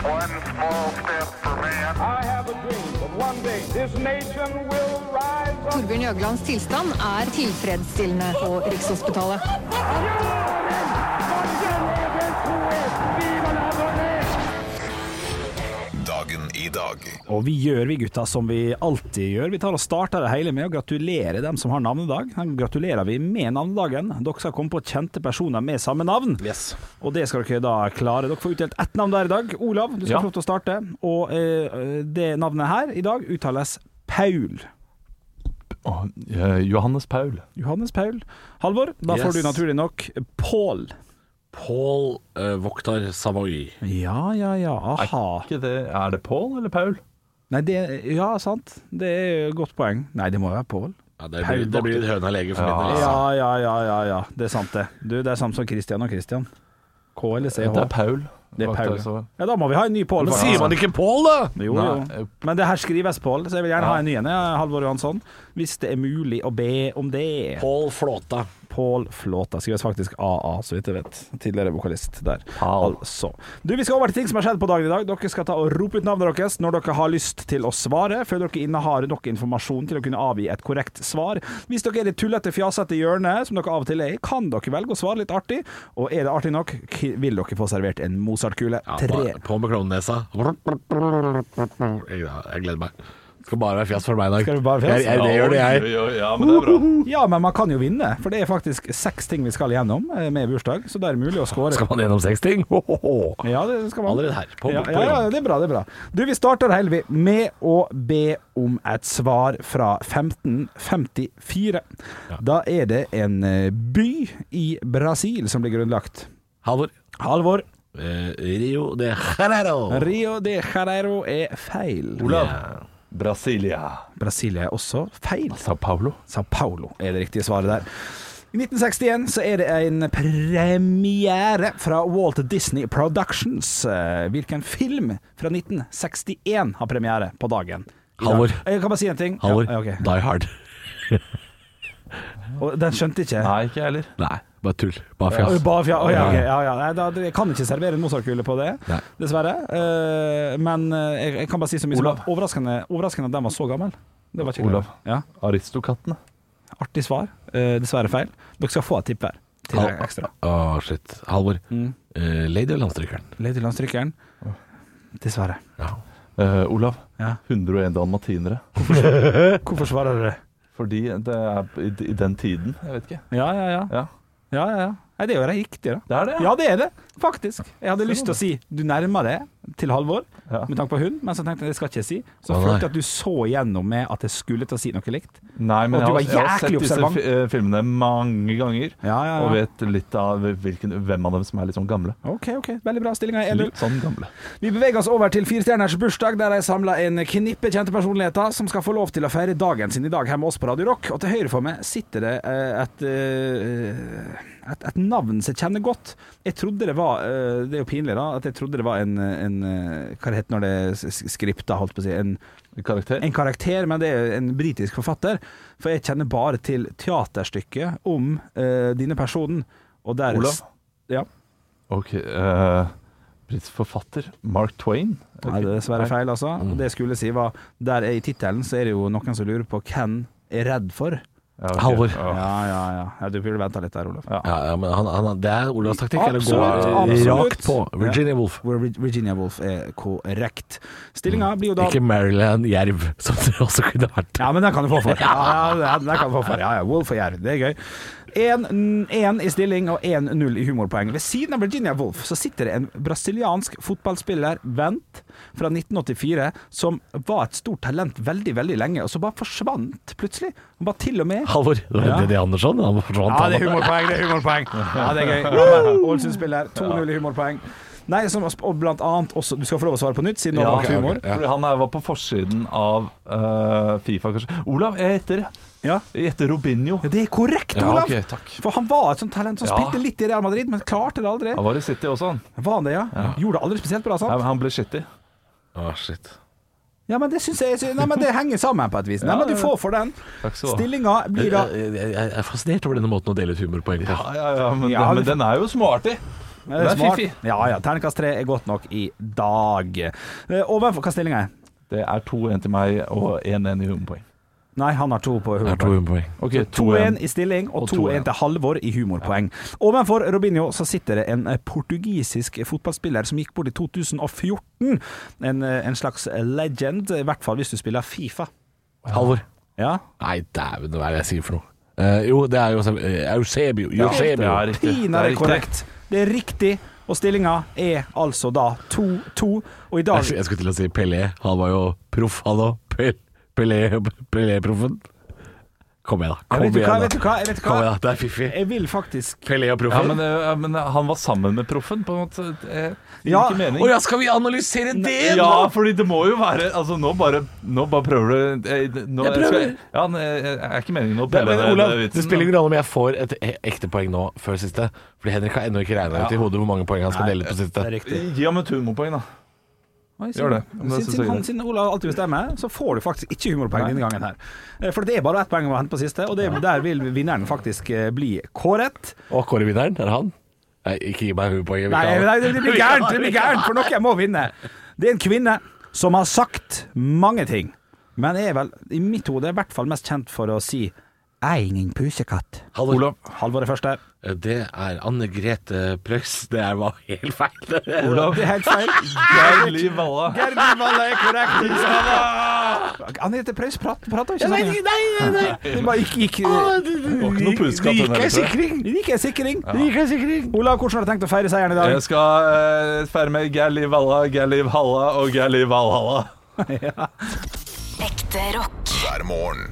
Speaker 6: One small step for man.
Speaker 7: I have a dream that one day this nation will rise up.
Speaker 8: Torbjørn Jøglands tilstand er tilfredsstillende på Rikshospitalet.
Speaker 1: Dagen i dag.
Speaker 4: Og vi gjør, vi gutta, som vi alltid gjør. Vi tar og starter det hele med å gratulere dem som har navnedag. Her Gratulerer vi med navnedagen. Dere skal komme på kjente personer med samme navn. Og det skal dere da klare. Dere får utdelt ett navn der i dag. Olav, du skal
Speaker 5: Ja.
Speaker 4: få lov til å starte. Og eh, det navnet her i dag uttales Paul.
Speaker 5: Å, eh, Johannes Paul.
Speaker 4: Johannes Paul. Halvor, da
Speaker 3: Yes.
Speaker 4: får du naturlig nok Paul.
Speaker 3: Paul eh, Voktar Savoy.
Speaker 4: Ja, ja, ja. Aha.
Speaker 5: Ikke det, er det Paul eller Paul?
Speaker 4: Nei, det Ja, sant. Det er et godt poeng. Nei, det må være Paul.
Speaker 3: Ja, det,
Speaker 4: Paul
Speaker 3: blir, det blir litt høna lege for min del. altså.
Speaker 4: Ja, ja, ja, ja, ja. Det er sant, det. Du, det er samme som Christian og Christian. K eller CH.
Speaker 5: Det er Paul.
Speaker 4: Det er
Speaker 5: Vakter,
Speaker 4: Paul.
Speaker 5: så-
Speaker 4: Ja, da må vi ha en ny Pål.
Speaker 3: Men
Speaker 4: faktisk.
Speaker 3: sier man ikke Paul, da?
Speaker 4: Jo,
Speaker 5: Nei.
Speaker 4: jo. Men det her skrives Pål, så jeg vil gjerne ha en ny en, jeg, Halvor Johansson. Hvis det er mulig å be om det.
Speaker 3: Paul Flåta.
Speaker 4: Pål Flåta skrives faktisk AA, så vidt jeg vet. Tidligere vokalist der.
Speaker 5: Paul.
Speaker 4: Altså. Du, vi skal over til ting som har skjedd på dagen i dag. Dere skal ta og rope ut navnet deres når dere har lyst til å svare, før dere innehar nok informasjon til å kunne avgi et korrekt svar. Hvis dere er i det tullete, fjasete hjørnet, som dere av og til er i, kan dere velge å svare litt artig. Og er det artig nok, k- vil dere få servert en Mozart-kule. Tre.
Speaker 3: På med klovnenesa. Jeg jeg gleder meg. Skal bare være fjas for meg i dag.
Speaker 4: Skal det bare være fjas?
Speaker 3: Jeg, jeg, det gjør det jeg.
Speaker 5: Ja, ja, men det er bra.
Speaker 4: Ja, men man kan jo vinne, for det er faktisk seks ting vi skal igjennom eh, med bursdag, så det er mulig å skåre.
Speaker 3: Skal man gjennom seks ting? Ho, ho, ho.
Speaker 4: Ja, det skal man.
Speaker 3: Allerede her, på-
Speaker 4: ja,
Speaker 3: på
Speaker 4: ja, ja,
Speaker 3: gang.
Speaker 4: det er bra, det er bra. Du, vi starter Helvi med å be om et svar fra 1554. Da er det en eh, by i Brasil som blir grunnlagt.
Speaker 3: Halvor.
Speaker 4: Halvor,
Speaker 3: Eh, Rio de Janeiro.
Speaker 4: Rio de Janeiro er feil.
Speaker 5: Olav. Brasilia.
Speaker 4: Brasilia er også feil.
Speaker 5: Sao Paulo.
Speaker 4: Sao Paulo er det riktige svaret der. I 1961 så er det en premiere fra Walt Disney Productions. Eh, Hvilken film fra 1961 har premiere på dagen? I dag.
Speaker 3: Halvor.
Speaker 4: Jeg kan bare si en ting.
Speaker 3: Halvor,
Speaker 4: Ja, ok.
Speaker 3: Die Hard.
Speaker 4: Og den skjønte ikke.
Speaker 5: Nei, ikke jeg heller.
Speaker 3: Nei, bare tull. Bare
Speaker 4: Oi,
Speaker 3: fjas.
Speaker 4: bare fja- oi, ja, ok. ja, ja. Nei, da, jeg kan ikke servere en Mozart-kule på det,
Speaker 3: Nei.
Speaker 4: dessverre. Eh, men eh, jeg, jeg kan bare si så mye som
Speaker 5: Olav.
Speaker 4: at overraskende, overraskende at den var så gammel. Det var ikke
Speaker 5: Olav.
Speaker 4: Ja.
Speaker 5: Aristokattene.
Speaker 4: Artig svar. Eh, dessverre feil. Dere skal få et tipp her. Til
Speaker 3: Hal-
Speaker 4: ekstra.
Speaker 3: Å, shit. Halvor.
Speaker 4: Mm.
Speaker 3: Eh, Lady og Landstrykeren.
Speaker 4: Ledelandstrykkeren. Dessverre.
Speaker 3: Ja.
Speaker 5: Eh, Olav.
Speaker 4: Ja.
Speaker 5: 101 dalmatinere.
Speaker 4: <laughs> Hvorfor svarer dere?
Speaker 5: Fordi det er i, i den tiden. Jeg vet ikke.
Speaker 4: Ja, ja, ja.
Speaker 5: Ja.
Speaker 4: ja, ja, ja. Nei, det er jo riktig, da.
Speaker 5: Det er det,
Speaker 4: Ja, det er det, faktisk. Jeg hadde lyst til å si du nærmer deg til Halvor
Speaker 5: Ja.
Speaker 4: med tanke på hund, men så tenkte jeg det skal ikke jeg si.
Speaker 3: Å,
Speaker 4: Så
Speaker 3: nei.
Speaker 4: følte jeg at du så igjennom med at jeg skulle til å si noe likt.
Speaker 5: Nei,
Speaker 4: Og
Speaker 5: men jeg
Speaker 4: du
Speaker 5: har,
Speaker 4: var
Speaker 5: jeg har sett
Speaker 4: jæklig
Speaker 5: disse
Speaker 4: observant.
Speaker 5: fi- eh, filmene mange ganger.
Speaker 4: Ja, ja, ja.
Speaker 5: Og vet litt av hvilken, hvem av dem som er litt sånn gamle.
Speaker 4: OK, ok, veldig bra. Stillinga er 1-0.
Speaker 5: Litt sånn gamle.
Speaker 4: Vi beveger oss over til Firestjerners bursdag, der jeg samla en knippe kjente personligheter som skal få lov til å feire dagen sin i dag her med oss på Radio Rock. Og til høyre for meg sitter det eh, et, eh, et, et navn som jeg kjenner godt. Jeg trodde det var eh, Det er jo pinlig, da. At jeg trodde det var en, en eh, Hva det heter når det er skripta, holdt på å si. En
Speaker 5: Karakter.
Speaker 4: en karakter, men det er en britisk forfatter. For jeg kjenner bare til teaterstykket om eh, denne personen. Og der
Speaker 5: Olav?
Speaker 4: Ja.
Speaker 5: Ok, eh, britisk forfatter Mark Twain.
Speaker 4: Nei, det er dessverre feil, altså. Og Det jeg skulle si, var Der er i tittelen så er det jo noen som lurer på hvem er redd for.
Speaker 5: Ja, ok.
Speaker 3: Halvor.
Speaker 5: Ja.
Speaker 4: Ja, ja, ja. ja du burde venta litt der, Olav.
Speaker 5: Ja.
Speaker 3: Ja, ja, men han, han, det er Olavs taktikk. er å gå
Speaker 4: Absolutt, absolutt.
Speaker 3: Rakt på. Virginia Woolf.
Speaker 4: Hvor Vir- Virginia Woolf er korrekt. Stillinga blir jo da
Speaker 3: Ikke Maryland Jerv, som <laughs> det også kunne vært.
Speaker 4: Ja, men den kan du få for. Ja, ja, den kan du få for. Ja, ja, Wolf og Jerv, det er gøy. 1-1 i stilling og 1-0 i humorpoeng. Ved siden av Virginia Woolf så sitter det en brasiliansk fotballspiller, Vent, fra 1984, som var et stort talent veldig, veldig lenge, og så bare forsvant plutselig. Han var til og med
Speaker 3: Halvor. Det var
Speaker 4: Ja.
Speaker 3: Didi Andersson. Han forsvant,
Speaker 4: ja, det er
Speaker 3: han.
Speaker 4: humorpoeng, det er humorpoeng. Ja, det er gøy. Ja, men Ålesund-spiller, 2-0 i humorpoeng. Nei, som, og blant annet også Du skal få lov å svare på nytt, siden du
Speaker 5: Ja,
Speaker 4: har
Speaker 5: ok,
Speaker 4: valgt humor.
Speaker 5: ok. Fordi han her var på forsiden av eh, Fifa, kanskje. Olav, jeg gjetter.
Speaker 4: Ja.
Speaker 5: Jeg gjetter Robinho.
Speaker 4: Ja, det er korrekt, Olav.
Speaker 5: ok, takk.
Speaker 4: For han var et sånt talent som
Speaker 5: Ja.
Speaker 4: spilte litt i Real Madrid, men klarte det aldri.
Speaker 5: Han var i City også, han.
Speaker 4: Var han det, ja? Gjorde det aldri spesielt bra,
Speaker 5: Nei,
Speaker 4: sant?
Speaker 5: men han ble shitty.
Speaker 3: Å, shit.
Speaker 4: Ja, men det syns jeg Nei, men det henger sammen på et vis. Nei, men du får for den.
Speaker 5: Takk skal du ha.
Speaker 4: Stillinga blir da
Speaker 3: Eh, Jeg, jeg, jeg er fascinert over denne måten å dele ut humorpoeng på.
Speaker 5: Ja, ja, ja, men,
Speaker 4: Ja,
Speaker 5: men
Speaker 4: du-
Speaker 5: den er jo småartig.
Speaker 4: Er det
Speaker 5: Den er
Speaker 4: eh, smart?
Speaker 5: fiffig.
Speaker 4: Ja ja, terningkast tre er godt nok i dag. Eh, Overfor hva stillinga er?
Speaker 5: Det er 2-1 til meg og 1-1 i humorpoeng.
Speaker 4: Nei, han har to på
Speaker 3: Det er to humorpoeng.
Speaker 4: humorpoeng.
Speaker 5: Ok,
Speaker 4: 2-1 i stilling og
Speaker 5: Og
Speaker 4: 2-1 til Halvor i humorpoeng. Ovenfor Robinho så sitter det en eh, portugisisk fotballspiller som gikk bort i 2014. En, eh, en slags legend, i hvert fall hvis du spiller Fifa.
Speaker 3: Halvor.
Speaker 4: Ja,
Speaker 3: Nei, dæven, hva er det jeg sier for noe? Eh, jo, det er jo eh, Eusebio. Eusebio.
Speaker 5: det er riktig.
Speaker 4: Pinadø
Speaker 5: Det er
Speaker 4: korrekt. Det er riktig, og stillinga er altså da 2-2. Og i dag
Speaker 3: Jeg skulle- Jeg skulle til å si Pelé. Han var jo proff, han òg. Pel- Pelé- Pelé-proffen. Kom igjen, da. Kom
Speaker 4: Vet du
Speaker 3: igjen,
Speaker 4: hva, vet du hva, vet du
Speaker 3: Kom igjen,
Speaker 4: hva?
Speaker 3: da. Det er fiffig.
Speaker 4: Jeg vil faktisk
Speaker 3: Pelé og
Speaker 5: Ja,
Speaker 3: proffen.
Speaker 5: men, eh, men han var sammen med proffen, på en måte. Det gir
Speaker 4: Ja,
Speaker 5: ikke mening.
Speaker 3: Å ja, skal vi analysere det nå?
Speaker 5: Ja, fordi det må jo være Altså, nå bare, nå bare prøver du eh, nå,
Speaker 3: Jeg prøver.
Speaker 5: Skal, ja, nei, jeg er ikke meningen å
Speaker 3: Det,
Speaker 5: pelle
Speaker 3: men,
Speaker 5: ned
Speaker 3: Olav,
Speaker 5: vitsen,
Speaker 3: det spiller ingen rolle om jeg får et e- ekte poeng nå før siste. Fordi Henrik har ennå ikke regna ut i hodet hvor mange poeng han skal dele ut på siste.
Speaker 4: Det er riktig.
Speaker 5: Gi ham et humorpoeng, da.
Speaker 4: Oi,
Speaker 5: Gjør det.
Speaker 4: siden-
Speaker 5: Men det synes jeg
Speaker 4: Siden,
Speaker 5: er
Speaker 4: han,
Speaker 5: greit.
Speaker 4: siden Olav alltid bestemmer, så får du faktisk ikke humorpoeng
Speaker 5: Nei.
Speaker 4: denne gangen her. Eh, For det er bare ett poeng å hente på siste, og det, der vil vinneren faktisk eh, bli kåret.
Speaker 3: Og Kåre-vinneren, er det han? Nei, ikke gi meg hovedpoenget.
Speaker 4: Nei, nei, det blir gærent, det
Speaker 5: <laughs>
Speaker 4: blir gærent, for noen må vinne. Det er en kvinne som har sagt mange ting, men er vel i mitt hode i hvert fall mest kjent for å si 'Jeg er ingen pusekatt'.
Speaker 3: Olav.
Speaker 4: Halvor er første.
Speaker 3: Eh, Det er Anne Grete Preus. Det er var helt feil. <laughs>
Speaker 5: Olav.
Speaker 4: Det er helt
Speaker 5: <laughs>
Speaker 4: feil.
Speaker 5: Geir Liv Valla.
Speaker 4: Gerd Nyvall er korrekt. Anette Preus prat, prater ikke sånn.
Speaker 3: nei,
Speaker 4: ja.
Speaker 3: nei.
Speaker 4: Det bare gikk, gikk,
Speaker 5: Ah, var ikke noe pusekatt,
Speaker 3: Det
Speaker 5: den
Speaker 3: gikk
Speaker 5: der,
Speaker 3: ei
Speaker 5: tror jeg.
Speaker 3: sikring.
Speaker 4: det gikk en sikring.
Speaker 3: Det gikk ei sikring.
Speaker 4: Olav, hvordan har du tenkt å feire seieren i dag?
Speaker 5: Jeg skal eh, feire med Geir Liv Valla, Geir Liv Halla og Geir Liv Valhalla.
Speaker 2: Ekte rock.
Speaker 1: hver morgen.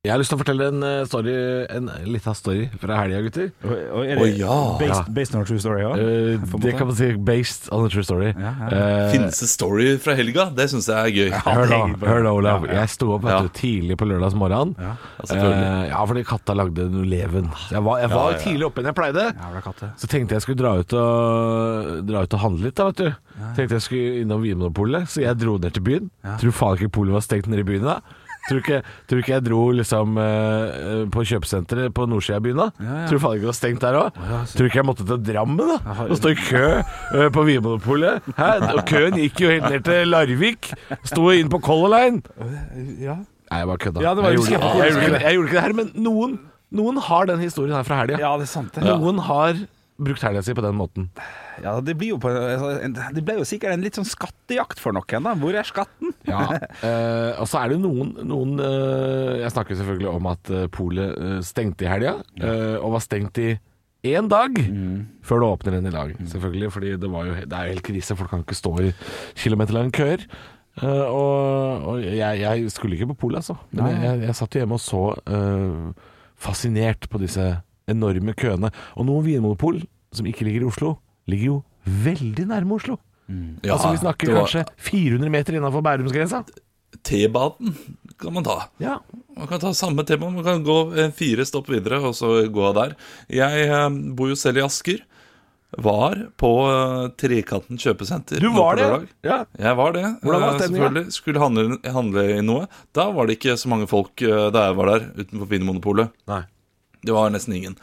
Speaker 3: Jeg har lyst til å fortelle en eh, story En liten story fra helga, gutter.
Speaker 4: Og, og er det
Speaker 9: Å, ja.
Speaker 4: based, based on a true story òg?
Speaker 3: Eh,
Speaker 4: på en
Speaker 3: det
Speaker 4: måte.
Speaker 3: kan man si based on a true story.
Speaker 4: Ja, ja.
Speaker 3: Eh,
Speaker 9: Finnes det story fra helga? Det syns jeg er gøy.
Speaker 3: Hør da, hør da, Olav.
Speaker 4: Ja, ja.
Speaker 3: Jeg sto opp vet du, tidlig på lørdags morgen. Ja,
Speaker 9: selvfølgelig.
Speaker 3: ja fordi katta lagde noe leven. Så Jeg var, jeg var tidlig oppe enn jeg pleide.
Speaker 4: Jævla katte.
Speaker 3: Så tenkte jeg skulle dra ut og, dra ut og handle litt, da, vet du. Tenkte jeg skulle innom Vinmonopolet, så jeg dro ned til byen. Tror faen ikke polet var stengt nede i byen da. Tror ikke, tror ikke jeg dro liksom eh, på kjøpesenteret på nordsida av byen da. Tror faen ikke det var stengt der òg. Tror ikke jeg måtte til Drammen da og stå i kø eh, på Vinmonopolet. Hæ? Og køen gikk jo helt ned til Larvik. Sto inn på Color Line. Nei, jeg bare kødda.
Speaker 4: Ja, det var
Speaker 3: jeg, gjorde,
Speaker 4: jo
Speaker 3: ikke- jeg, gjorde ikke, det- jeg gjorde ikke det her, men noen, noen har den historien her fra helga.
Speaker 4: Ja, det er sant. det.
Speaker 3: Noen har brukt helga si på den måten.
Speaker 4: Ja, det, blir jo på, altså, en- det ble jo sikkert en litt sånn skattejakt for noen, da. Hvor er skatten?
Speaker 3: Eh, og så er det noen, noen eh, Jeg snakker selvfølgelig om at eh, polet eh, stengte i helga, eh, og var stengt i én dag før det åpner igjen i dag. Selvfølgelig, fordi det, var jo, he- det er jo helt krise. Folk kan ikke stå i kilometerlange køer. Eh, og og jeg, jeg skulle ikke på polet, altså. Men jeg, jeg, jeg satt jo hjemme og så eh, fascinert på disse enorme køene. Og noen vinmonopol som ikke ligger i Oslo, ligger jo veldig nærme Oslo.
Speaker 9: Ja,
Speaker 3: altså Vi snakker
Speaker 9: det var-
Speaker 3: kanskje 400 meter innafor Bærumsgrensa.
Speaker 9: T-banen kan man ta.
Speaker 3: Ja.
Speaker 9: Man kan ta samme tema, man kan gå eh, fire stopp videre og så gå av der. Jeg eh, bor jo selv i Asker. Var på eh, Trekanten kjøpesenter.
Speaker 3: Du
Speaker 9: nå
Speaker 3: var
Speaker 9: på
Speaker 3: det?
Speaker 9: lørdag.
Speaker 3: Ja.
Speaker 9: Jeg var det.
Speaker 3: Hvordan var
Speaker 9: eh,
Speaker 3: stemningen?
Speaker 9: Selvfølgelig. Skulle handle, handle i noe. Da var det ikke så mange folk eh, da jeg var der utenfor Vinmonopolet.
Speaker 3: Nei.
Speaker 9: Det var nesten ingen.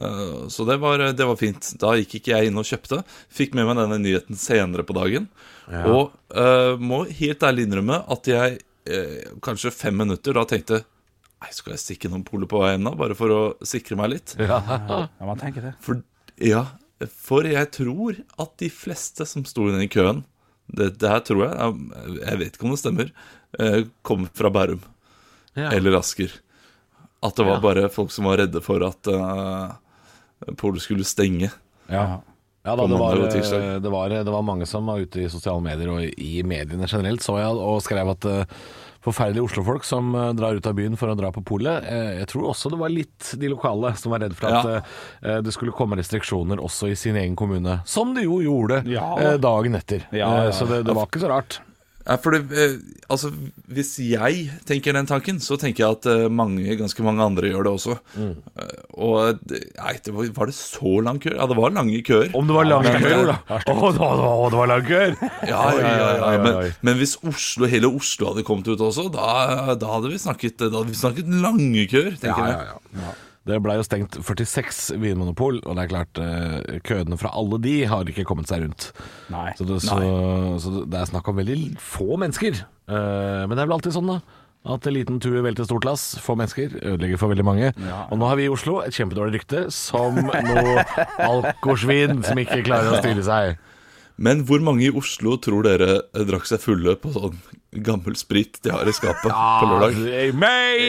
Speaker 9: Eh, Så det var, det var fint. Da gikk ikke jeg inn og kjøpte. Fikk med meg denne nyheten senere på dagen. Og eh, må helt ærlig innrømme at jeg eh, kanskje fem minutter da tenkte Nei, skal jeg stikke innom polet på veien da, bare for å sikre meg litt?
Speaker 4: Ja, man tenker det.
Speaker 9: For, ja, for jeg tror at de fleste som sto inne i køen det, det her tror jeg, jeg- jeg vet ikke om det stemmer, eh, kom fra Bærum eller Asker. At det var bare folk som var redde for at uh, polet skulle stenge.
Speaker 3: Ja. da,
Speaker 9: På
Speaker 3: det var, eh,
Speaker 9: mandag og tirsdag.
Speaker 3: det, var, det var mange som var ute i sosiale medier og i mediene generelt, så jeg, og skrev at eh, forferdelige Oslofolk som eh, drar ut av byen for å dra på polet. Eh, Jeg tror også det var litt de lokale som var redd for at
Speaker 9: Ja.
Speaker 3: eh, eh, det skulle komme restriksjoner også i sin egen kommune. Som det jo gjorde
Speaker 4: Ja.
Speaker 3: eh, dagen etter.
Speaker 4: Ja, ja.
Speaker 3: Eh, Så det, det var ikke så rart.
Speaker 9: Ja, for det, eh, altså, hvis jeg tenker den tanken, så tenker jeg at eh, mange, ganske mange andre gjør det også.
Speaker 3: Mm.
Speaker 9: Eh, og det- nei, det var, var det så lang kø? Ja, det var lange køer.
Speaker 3: Om det var lange
Speaker 9: men-
Speaker 3: køer, da. Å, det var- å, det var lange køer!
Speaker 9: Ja, ja, ja, ja,
Speaker 3: Oi, oi, oi, oi.
Speaker 9: Men, men hvis Oslo, hele Oslo hadde kommet ut også, da, da, hadde, vi snakket, da hadde vi snakket lange køer, tenker
Speaker 3: Ja,
Speaker 9: jeg.
Speaker 3: ja, ja. Det blei jo stengt 46 vinmonopol, og det er klart eh, køene fra alle de har ikke kommet seg rundt.
Speaker 4: Nei.
Speaker 3: Så det, så, så det er snakk om veldig få mennesker. Eh, men det er vel alltid sånn, da. At en liten tue velter stort lass. Få mennesker ødelegger for veldig mange. Og nå har vi i Oslo et kjempedårlig rykte som noe alkosvin som ikke klarer å styre seg.
Speaker 9: Men hvor mange i Oslo tror dere eh, drakk seg fulle på sånn gammel sprit de har i skapet på lørdag?
Speaker 3: Ah, Meg!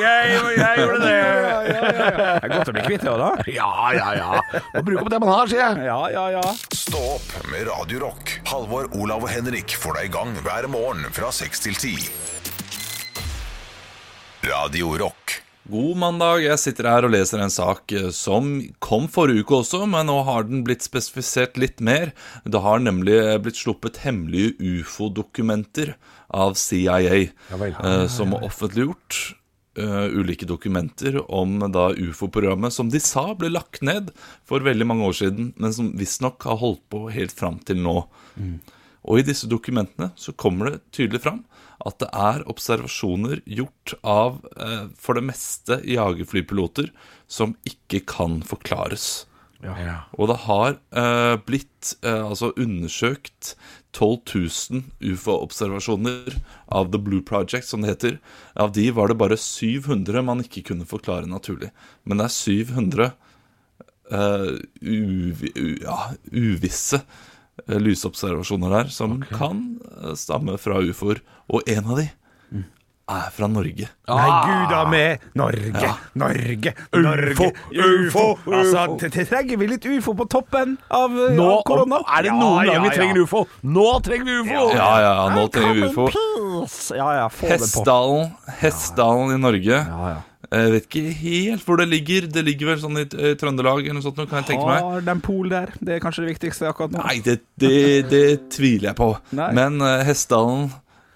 Speaker 3: Jeg, jeg gjorde det!
Speaker 4: Det er godt å bli kvitt det òg, da.
Speaker 3: Ja, ja, ja. Må bruke opp det man har, sier jeg.
Speaker 4: Ja, ja, ja.
Speaker 1: Stå opp med Radio Rock. Halvor, Olav og Henrik får deg i gang hver morgen fra 6 til 10. Radio Rock.
Speaker 9: God mandag. Jeg sitter her og leser en sak eh, som kom forrige uke også, men nå har den blitt spesifisert litt mer. Det har nemlig eh, blitt sluppet hemmelige ufo-dokumenter av CIA, eh, som er offentliggjort eh, ulike dokumenter om da ufo-programmet som de sa ble lagt ned for veldig mange år siden, men som visstnok har holdt på helt fram til nå. Og i disse dokumentene så kommer det tydelig fram at det er observasjoner gjort av eh, for det meste jagerflypiloter som ikke kan forklares. Og det har eh, blitt eh, altså undersøkt 12 000 ufo-observasjoner av The Blue Project, som det heter. Av de var det bare 700 man ikke kunne forklare naturlig. Men det er 700 eh, uvi, u, ja, uvisse eh, lysobservasjoner der som kan eh, stamme fra ufoer. Og en av de er fra Norge.
Speaker 4: Nei, gud a meg! Norge, Norge, Norge!
Speaker 10: Ufo, ufo, ufo.
Speaker 4: Altså, t- t- trenger vi litt ufo på toppen av, eh,
Speaker 10: Nå
Speaker 4: av korona?
Speaker 10: er det noen
Speaker 4: ja,
Speaker 10: gang vi
Speaker 4: ja.
Speaker 10: trenger ufo. Nå trenger vi ufo!
Speaker 9: Ja, ja, ja, nå trenger vi ufo.
Speaker 4: Please. Ja, ja, få det på.
Speaker 9: Hessdalen, Hessdalen i Norge. Eh,
Speaker 4: Ja, ja.
Speaker 9: Jeg vet ikke helt hvor det ligger. Det ligger vel sånn i eh, Trøndelag eller noe sånt, nå, kan jeg tenke meg.
Speaker 4: Har de pol der? Det er kanskje det viktigste akkurat nå.
Speaker 9: Nei, det, det, det tviler jeg på.
Speaker 4: Nei.
Speaker 9: Men eh, Hessdalen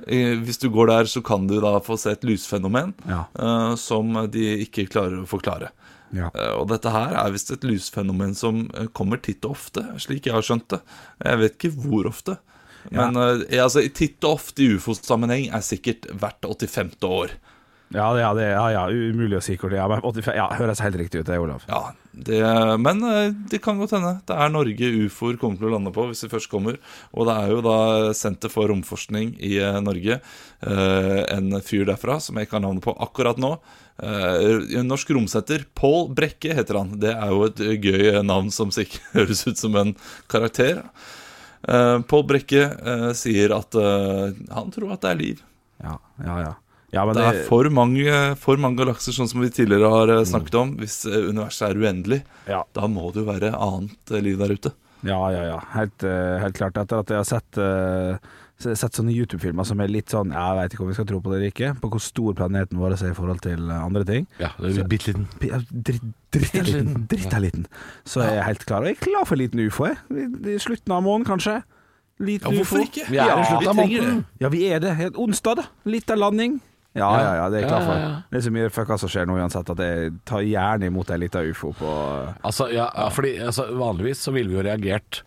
Speaker 9: eh, Hvis du går der, så kan du da få se et lysfenomen
Speaker 4: Ja.
Speaker 9: eh, som de ikke klarer å forklare.
Speaker 4: Ja.
Speaker 9: Eh, og dette her er visst et lysfenomen som eh, kommer titt og ofte, slik jeg har skjønt det. Jeg vet ikke hvor ofte. Men eh, jeg- altså, titt og ofte i ufo-sammenheng er sikkert hvert 85. år.
Speaker 4: Ja, det- ja, det, ja, ja, umulig å si hvor det er. men 85, ja, høres helt riktig ut, det, Olav.
Speaker 9: Ja, det, men eh, det kan godt hende. Det er Norge ufoer kommer til å lande på, hvis de først kommer. Og det er jo da Senter for romforskning i eh, Norge, eh, en fyr derfra som jeg ikke har navnet på akkurat nå. Eh, Norsk romsenter. Pål Brekke heter han. Det er jo et eh, gøy eh, navn som sikkert <laughs> høres ut som en karakter. Eh, Pål Brekke eh, sier at eh, han tror at det er liv.
Speaker 4: Ja, ja, ja. ja men
Speaker 9: Det
Speaker 4: det,
Speaker 9: er for mange, for mange galakser, sånn som vi tidligere har eh, snakket om. Hvis eh, universet er uendelig,
Speaker 4: Ja.
Speaker 9: da må det jo være annet eh, liv der ute.
Speaker 4: Ja, ja, ja. Helt, eh, helt klart. Etter at jeg har sett, eh, s- sett sånne YouTube-filmer som er litt sånn Jeg veit ikke om vi skal tro på det eller ikke, på hvor stor planeten vår er i forhold til eh, andre ting.
Speaker 3: Ja, det er bitte liten.
Speaker 4: P- ja, dritt- Dritt er liten. Dritt er liten. Så jeg er helt klar. Og jeg er klar for en liten ufo, jeg. I- I slutten av måneden, kanskje. Liten ufo.
Speaker 3: Vi er i slutten av måneden.
Speaker 4: Ja, vi er det. Helt onsdag, da. Litt av landing. Ja, ja, ja, det er jeg klar for.
Speaker 3: Ja, ja, ja.
Speaker 4: Det er så mye fucka som skjer nå uansett, at jeg tar gjerne imot ei lita ufo på
Speaker 3: Altså, ja, ja, fordi altså, vanligvis så ville vi jo reagert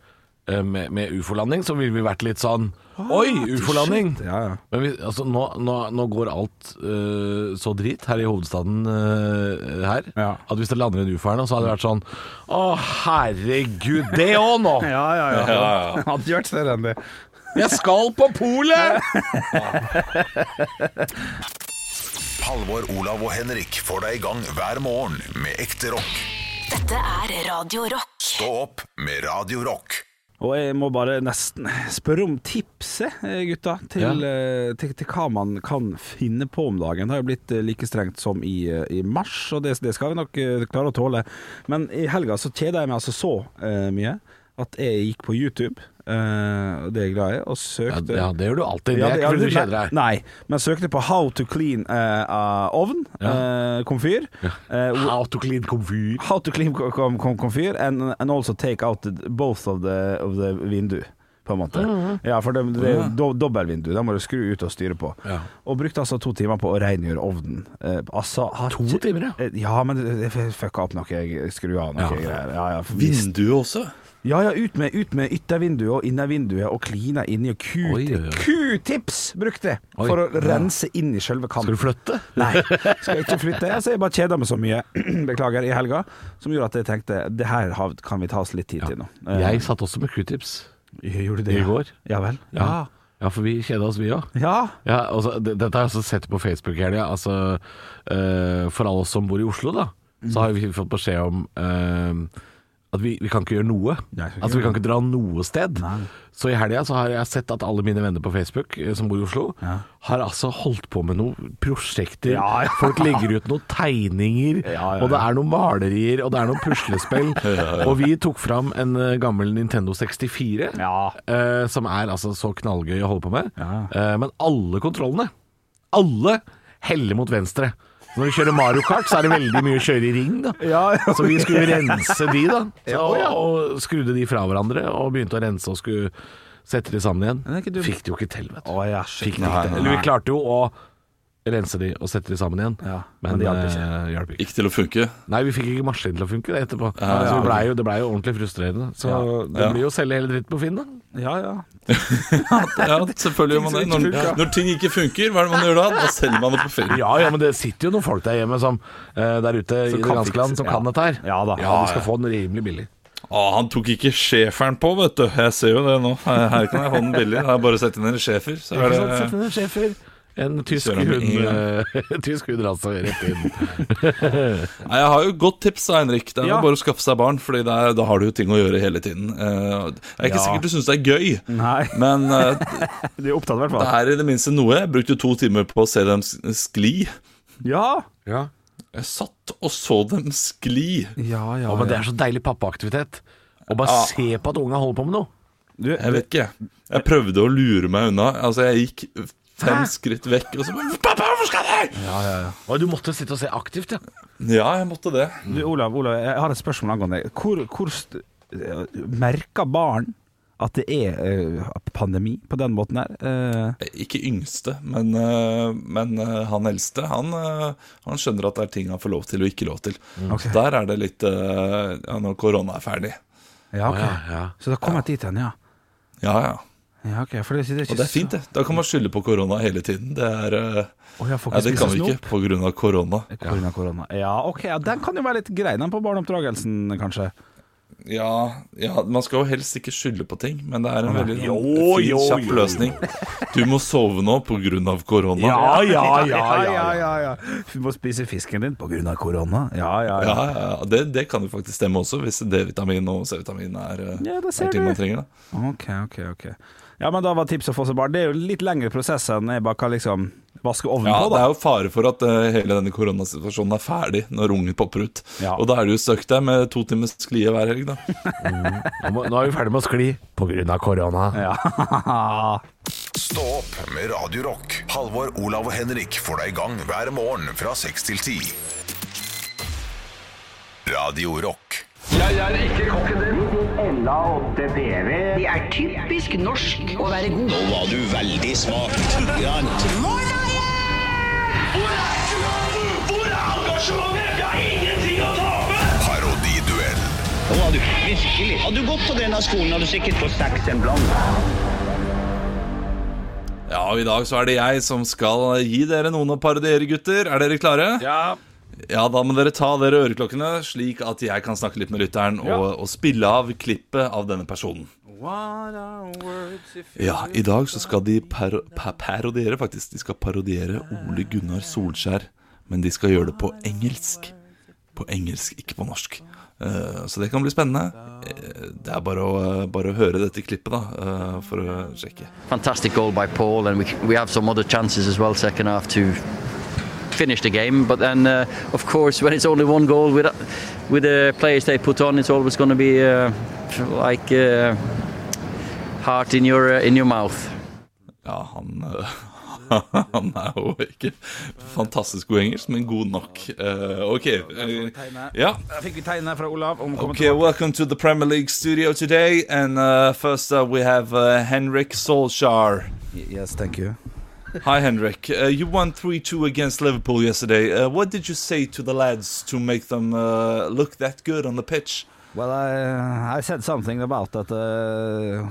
Speaker 3: eh, med, med ufolanding, så ville vi vært litt sånn Oi, ufolanding!
Speaker 4: Ah, Shit, Ja, ja.
Speaker 3: Men vi, altså, nå, nå, nå går alt eh, så drit her i hovedstaden eh, her,
Speaker 4: Ja.
Speaker 3: at hvis det lander en ufo her nå, så hadde det vært sånn Å, herregud, det òg nå!
Speaker 4: <laughs> Ja, ja, ja. <laughs> Hadde ikke vært større enn det.
Speaker 3: Jeg skal på polet!
Speaker 1: Halvor, Olav og Henrik får deg i gang hver morgen med ekte rock.
Speaker 2: Dette er Radio Rock.
Speaker 1: Stå opp med Radio Rock.
Speaker 4: Og jeg må bare nesten spørre om tipset, eh, gutta, til, eh, til, til hva man kan finne på om dagen. Det har jo blitt eh, like strengt som i, eh, i mars, og det, det skal vi nok eh, klare å tåle. Men i helga så kjeda jeg meg altså så eh, mye at jeg gikk på YouTube, eh, og det er jeg glad i, og
Speaker 3: Ja,
Speaker 4: søkte
Speaker 3: ja, det gjør du alltid. Det
Speaker 4: Ja,
Speaker 3: er
Speaker 4: det-
Speaker 3: ikke
Speaker 4: ja,
Speaker 3: fordi
Speaker 4: det-
Speaker 3: du kjeder deg.
Speaker 4: Nei, nei, men søkte på How to clean eh, eh, ovn, eh, komfyr. eh,
Speaker 3: How to clean komfyr.
Speaker 4: How to clean com- com- com- comfyr and, and also take out the, both of the, of the vindu. På en måte. Ja, for det, det er jo do, dobbeltvindu. Da må du skru ut og styre på.
Speaker 3: Mm. Ja.
Speaker 4: Og brukte altså to timer på å rengjøre ovnen. Eh, altså, har
Speaker 3: To
Speaker 4: ikke-
Speaker 3: timer, ja.
Speaker 4: Eh, Ja, men jeg fucka opp noe. Jeg skrur av noe
Speaker 3: Ja.
Speaker 4: greier. Ja, ja, for visst.
Speaker 9: Vinduet også.
Speaker 4: ja, ja, ut med, ut med yttervinduet og innervinduet og klina inni og ku-
Speaker 3: Oi, oi, oi.
Speaker 4: Q-tips brukte jeg
Speaker 3: Oi,
Speaker 4: for å
Speaker 3: ja.
Speaker 4: rense inn i selve kanten.
Speaker 3: Skal du flytte?
Speaker 4: Nei, skal jeg ikke flytte. Altså, jeg bare kjeda meg så mye, <clears throat> beklager, i helga, som gjorde at jeg tenkte det her har- kan vi ta oss litt tid til nå. Eh,
Speaker 3: Jeg satt også med q-tips.
Speaker 4: jeg gjorde det
Speaker 3: i
Speaker 4: ja.
Speaker 3: går.
Speaker 4: Ja vel.
Speaker 3: Ja. ja, for vi kjeda oss, vi òg.
Speaker 4: Ja.
Speaker 3: Ja, altså, det- dette har jeg også sett på Facebook i helga. Altså, eh, for alle oss som bor i Oslo, da, så har vi fått beskjed om eh, at vi, vi kan ikke gjøre noe.
Speaker 4: Nei, vi kan ikke
Speaker 3: altså Vi
Speaker 4: gjøre
Speaker 3: kan ikke dra noe sted. Så i helga så har jeg sett at alle mine venner på Facebook eh, som bor i Oslo, har altså holdt på med noen prosjekter.
Speaker 4: Ja, ja.
Speaker 3: Folk legger ut noen tegninger,
Speaker 4: Ja, ja,
Speaker 3: og det er noen malerier, og det er noen
Speaker 4: <laughs>
Speaker 3: puslespill. Og vi tok fram en eh, gammel Nintendo 64.
Speaker 4: Ja.
Speaker 3: Eh, som er altså så knallgøy å holde på med. Eh, men alle kontrollene, alle heller mot venstre. Så når du kjører Mario Kart, så er det veldig mye å kjøre i ring, da.
Speaker 4: Ja, ja.
Speaker 3: Så vi skulle rense de, da. Så, og, og skrudde de fra hverandre, og begynte å rense og skulle sette de sammen igjen.
Speaker 4: er ikke dumt.
Speaker 3: Fikk det jo ikke til, vet du.
Speaker 4: Å, ja, shit.
Speaker 3: Fikk det ikke til. Eller vi klarte jo å rense de og sette de sammen igjen,
Speaker 4: Ja,
Speaker 3: men,
Speaker 4: men det hjalp ikke.
Speaker 3: eh, hjalp ikke.
Speaker 9: Ikke til å funke.
Speaker 3: Nei, vi fikk ikke maskinen til å funke etterpå. så vi ble jo, det blei jo ordentlig frustrerende. Så det
Speaker 9: Ja.
Speaker 3: blir jo å selge hele dritten på Finn, da.
Speaker 4: Ja, ja. <laughs>
Speaker 9: Ja, selvfølgelig gjør man det.
Speaker 4: Ting som ikke
Speaker 9: Når,
Speaker 4: funker.
Speaker 9: når ting ikke funker, hva er det man gjør da? Da selger man det på ferie.
Speaker 3: Ja, ja, men det sitter jo noen folk der hjemme som, eh, der ute i det
Speaker 4: kan
Speaker 3: ganske land som
Speaker 4: fikse-
Speaker 3: kan
Speaker 4: ja.
Speaker 3: dette her.
Speaker 4: Ja da.
Speaker 3: Ja, du skal få den rimelig billig.
Speaker 9: Å, han tok ikke schæferen på, vet du. Jeg ser jo det nå. Her her kan jeg få den billig. Det er bare å sette ned schæfer, så er det
Speaker 3: Sjefer. En tysk
Speaker 5: Kjører med
Speaker 3: hund, eh, <laughs> tysk hund altså, rett inn.
Speaker 5: Nei, Jeg har jo et godt tips, da, Henrik. Det er jo
Speaker 4: Ja.
Speaker 5: bare å skaffe seg barn, Fordi det er, da har du jo ting å gjøre hele tiden. Eh, Det er ikke sikkert du syns det er gøy,
Speaker 4: Nei,
Speaker 5: men eh,
Speaker 4: du er opptatt i hvert
Speaker 5: det
Speaker 4: fall.
Speaker 5: er i det minste noe. Jeg brukte jo to timer på å se dem s- skli.
Speaker 4: Ja.
Speaker 3: Ja.
Speaker 5: Jeg satt og så dem skli.
Speaker 4: Ja, ja,
Speaker 3: Å, men det er så deilig pappaaktivitet. Å bare se på at unga holder på med noe.
Speaker 4: Du,
Speaker 5: Jeg vet ikke. Jeg prøvde å lure meg unna. Altså, jeg gikk fem
Speaker 4: Hæ?
Speaker 5: skritt vekk, og så bare Pappa, hvorfor skal jeg?
Speaker 3: Å, du måtte sitte og se aktivt, ja.
Speaker 5: Ja, jeg måtte det.
Speaker 4: du, Olav, Olav, jeg har et spørsmål angående det. Hvor, hvor st merker barn at det er eh, pandemi på den måten her? Eh,
Speaker 5: Ikke yngste, men, eh, men eh, han eldste, han, eh, han skjønner at det er ting han får lov til og ikke lov til.
Speaker 3: Mm.
Speaker 5: Så der er det litt eh, ja, Når korona er ferdig.
Speaker 4: ja, ok.
Speaker 3: ja, ja.
Speaker 4: Så det har kommet dit hen, ja.
Speaker 5: Ja, ja.
Speaker 4: Ja, ok, for det, det er ikke
Speaker 5: Og det er fint, det. Da kan man skylde på korona hele tiden. Det er eh,
Speaker 4: Å, jeg får ikke
Speaker 5: Nei, det
Speaker 4: spise
Speaker 5: kan vi
Speaker 4: snop.
Speaker 5: ikke på grunn av korona.
Speaker 4: Korona, korona. Ja, ok, ja, den kan jo være litt grei, den på barneoppdragelsen, kanskje.
Speaker 5: Ja, ja, man skal jo helst ikke skylde på ting, men det er en veldig
Speaker 3: Jo,
Speaker 5: sånn fin,
Speaker 3: jo,
Speaker 5: kjapp
Speaker 3: jo.
Speaker 5: løsning. Du må sove nå på grunn av korona.
Speaker 3: ja,
Speaker 4: ja, ja. Du må spise fisken din på grunn av korona. Ja, ja, ja.
Speaker 5: Ja, ja, ja. Det, det kan jo faktisk stemme også, hvis D-vitamin og C-vitamin er, eh,
Speaker 4: Ja, det ser
Speaker 5: er ting man
Speaker 4: du.
Speaker 5: trenger. Da.
Speaker 4: Ok, ok, ok. Ja, men da var tipset å få seg barn. Det er jo litt lengre prosess enn jeg bare kan liksom vaske ovnen
Speaker 5: Ja,
Speaker 4: på,
Speaker 5: Det
Speaker 4: da.
Speaker 5: er jo fare for at eh, hele denne koronasituasjonen er ferdig når ungen popper ut.
Speaker 4: Ja.
Speaker 5: Og da er du jo stuck der med to timers sklie hver helg, da.
Speaker 3: Nå, må, nå er vi ferdig med å skli på grunn av korona.
Speaker 4: <laughs> Ja.
Speaker 1: Stå opp med Radio Rock. Halvor, Olav og Henrik får deg i gang hver morgen fra 6 til 10. Radio Rock.
Speaker 11: Det er typisk norsk å være god. Nå var du veldig smart.
Speaker 1: Parodiduell.
Speaker 11: Nå var du virkelig. Hadde du gått på denne skolen, hadde du sikkert fått seks en blant.
Speaker 5: Ja, og i dag så er det jeg som skal gi dere noen å parodiere, gutter. Er dere klare?
Speaker 3: Ja.
Speaker 5: Ja, da må dere ta dere øreklokkene, slik at jeg kan snakke litt med lytteren og, og spille av klippet av denne personen. Ja, i dag så skal de par pa parodiere, faktisk. De skal parodiere Ole Gunnar Solskjær, men de skal gjøre det på engelsk. På engelsk, ikke på norsk. Eh, så det kan bli spennende. Eh, det er bare å, bare å høre dette klippet, da, eh, for å sjekke.
Speaker 9: Fantastic goal by Paul, and we, we have some other chances as well, second half, to finish the game. But then, uh, of course, when it's only one goal with, with the players they put on, it's always going to be uh, like uh, heart in your, uh, in your mouth.
Speaker 5: Ja, han <laughs> eh, Han er jo ikke fantastisk god i engelsk, men god nok. Eh, OK. eh, ja.
Speaker 4: Da fikk vi tegnet fra Olav om å komme
Speaker 5: Okay,
Speaker 4: tilbake.
Speaker 5: welcome to the Premier League studio today. And uh, first up, we have uh, Henrik Solskjaer.
Speaker 4: Yes, thank you.
Speaker 5: Hi, Henrik. Uh, you won 3 2 against Liverpool yesterday. Uh, what did you say to the lads to make them uh, look that good on the pitch?
Speaker 4: Well, I, I said something about that. Uh,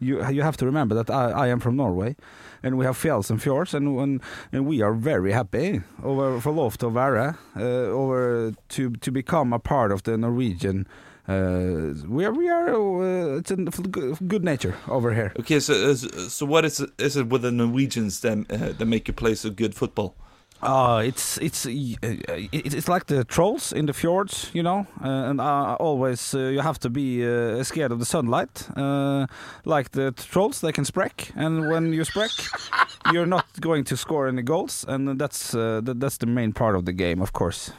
Speaker 4: you you have to remember that I, I am from Norway, and we have fjells and fjords, and and, and we are very happy over for love to Vara, uh, over to to become a part of the Norwegian. Uh, we are we are uh, it's a good good nature over here.
Speaker 5: Okay, so uh, so what is it, is it with the Norwegians that, uh, that make you play so good football?
Speaker 4: Uh, it's it's uh, it- it's like the trolls in the fjords, you know. Uh, and uh, always uh, you have to be uh, scared of the sunlight. Uh, like the trolls, they can sprek, and when you sprek, you're not going to score any goals, and that's uh, that, that's the main part of the game, of course.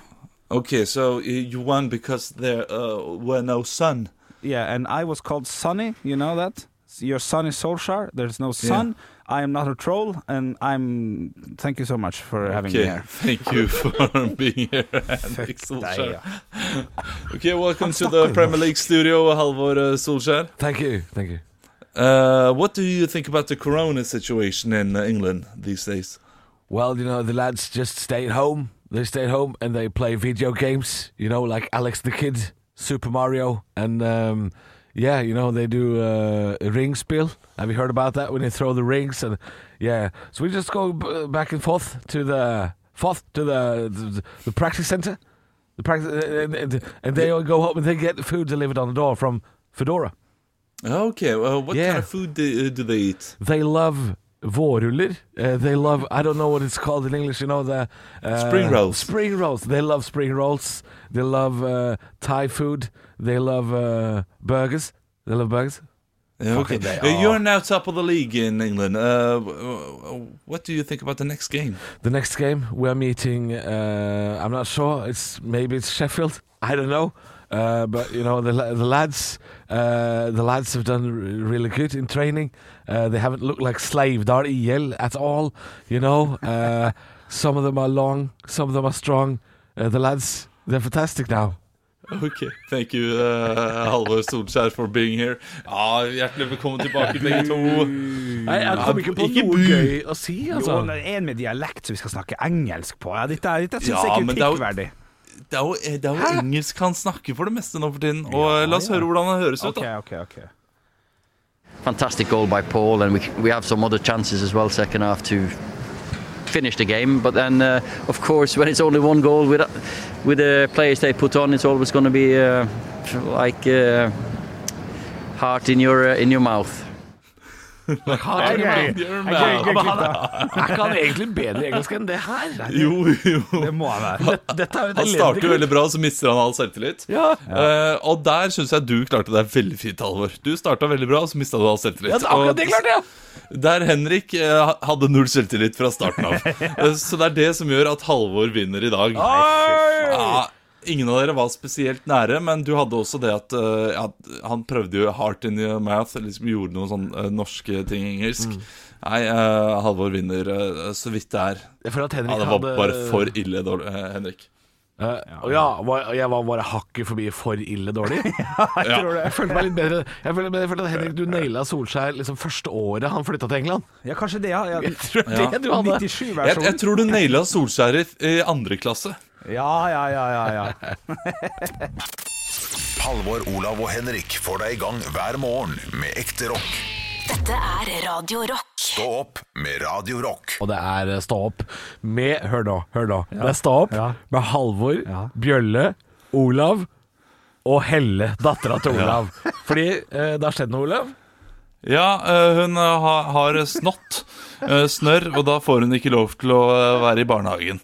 Speaker 5: Okay, so uh, you won because there uh, were no sun.
Speaker 4: Yeah, and I was called Sunny. You know that. Your sun is Solskjaer. There's no sun. I am not a troll, and I'm. Thank you so much for having me
Speaker 5: Okay,
Speaker 4: here.
Speaker 5: <laughs> thank you for being
Speaker 3: <laughs>
Speaker 5: here,
Speaker 4: deg,
Speaker 5: Henrik Solskjær. <laughs> Okay, welcome to the Premier League studio, Halvor uh, Solskjær.
Speaker 3: Thank you. Thank you.
Speaker 5: Uh, what do you think about the corona situation in uh, England these days?
Speaker 3: Well, you know, the lads just stay at home. They stay at home and they play video games, you know, like Alex the Kid, Super Mario, and um, yeah, you know, they do uh, a ring spill. Have you heard about that when they throw the rings? And yeah, so we just go b- back and forth to the forth to the the, the practice center. The practice, and, and, and they all go home and they get the food delivered on the door from Fedora.
Speaker 5: Okay, uh, what
Speaker 3: Yeah.
Speaker 5: kind of food do, uh, do they eat?
Speaker 3: They love vårruller. Eh, they love I don't know what it's called in English, you know the eh,
Speaker 5: Spring rolls.
Speaker 3: Spring rolls. They love spring rolls. They love eh, Thai food. They love eh, burgers. They love burgers.
Speaker 5: Yeah, Okay.
Speaker 3: Fucking they
Speaker 5: Uh,
Speaker 3: are.
Speaker 5: You're now top of the league in England. Uh, w- w- what do you think about the next game?
Speaker 3: The next game we are meeting, uh, I'm not sure. It's maybe it's Sheffield. I don't know. Uh, but you know the la- the lads, uh, the lads have done r- really good in training. Uh, they haven't looked like slave Dar EL at all. You know, uh, some of them are long, some of them are strong. Uh, the lads, they're fantastic now.
Speaker 5: Okay, thank you, uh, Halvor Solskjær, for being here. Ja, Hjertelig velkommen tilbake, begge to.
Speaker 4: Nei, jeg kom
Speaker 5: Ja,
Speaker 4: ikke på
Speaker 5: ikke
Speaker 4: noe
Speaker 5: bu.
Speaker 4: gøy
Speaker 3: å si, altså.
Speaker 4: Jo, men en med dialekt som vi skal snakke engelsk på. Ja, dette, dette syns
Speaker 5: Ja,
Speaker 4: jeg
Speaker 5: men
Speaker 4: ikke
Speaker 5: det er
Speaker 4: er
Speaker 5: jo-
Speaker 4: kritikkverdig.
Speaker 5: Det er jo, eh, det er jo engelsk han snakker for det meste nå for tiden. Og eh, la oss høre hvordan det høres ut, da.
Speaker 9: Fantastic goal by Paul, and we, we have some other chances as well, second half, to finish the game. But then, uh, of course, when it's only one goal with, with the players they put on, it's always going to be uh, like uh, heart in your, uh, in your mouth.
Speaker 3: Har
Speaker 4: Ok,
Speaker 3: dere-
Speaker 4: ok, ok,
Speaker 3: Ja, men han-
Speaker 4: klipp da.
Speaker 3: Er ikke han egentlig bedre i engelsk enn det her?
Speaker 5: Jo, jo.
Speaker 4: Det må
Speaker 5: <laughs>
Speaker 4: han være.
Speaker 3: Dette- Dette er jo et
Speaker 5: Han
Speaker 3: elendig
Speaker 5: starter
Speaker 3: klipp.
Speaker 5: veldig bra, så mister han all selvtillit.
Speaker 3: Ja.
Speaker 5: Eh, og der syns jeg du klarte deg veldig fint, Halvor. Du starta veldig bra, så mista du all selvtillit.
Speaker 3: Ja, det- akkurat
Speaker 5: Og
Speaker 3: det klarte jeg!
Speaker 5: Der Henrik eh, hadde null selvtillit fra starten
Speaker 3: <laughs>
Speaker 5: av. Eh, så det er det som gjør at Halvor vinner i dag.
Speaker 3: Ah,
Speaker 5: Ja, ingen av dere var spesielt nære, men du hadde også det at eh, ja, han prøvde jo hard in your mouth, liksom gjorde noen sånne norske ting i engelsk.
Speaker 3: Mm.
Speaker 5: Nei, eh, Halvor vinner eh, så vidt det er.
Speaker 3: Jeg føler at Henrik
Speaker 5: ja, det var
Speaker 3: hadde-
Speaker 5: bare for ille dårlig, eh, Henrik.
Speaker 3: Eh, og ja, var, jeg var bare hakket forbi for ille dårlig. <laughs> jeg,
Speaker 5: tror det.
Speaker 3: følte meg litt bedre. Jeg følte, men jeg følte at Henrik, du naila Solskjær liksom første året han flytta til England. <laughs>
Speaker 4: Ja, kanskje det, ja.
Speaker 3: Jeg tror
Speaker 5: Ja.
Speaker 3: det du
Speaker 4: <laughs>
Speaker 3: hadde.
Speaker 5: Jeg, jeg tror du naila Solskjær i, i andre klasse.
Speaker 4: Ja, ja, ja, ja, ja.
Speaker 1: Halvor, Olav og Henrik får deg i gang hver morgen med ekte rock.
Speaker 2: Dette er Radio Rock.
Speaker 1: Stå opp med Radio Rock.
Speaker 3: Og det er eh, Stå opp med Hør nå, hør nå. Det er Stå opp med Halvor, Bjølle, Olav og Helle, dattera til Olav. Fordi eh, det har skjedd noe, Olav.
Speaker 5: Ja, eh, hun eh, ha, har snott eh, snørr, og da får hun ikke lov til å eh, være i barnehagen.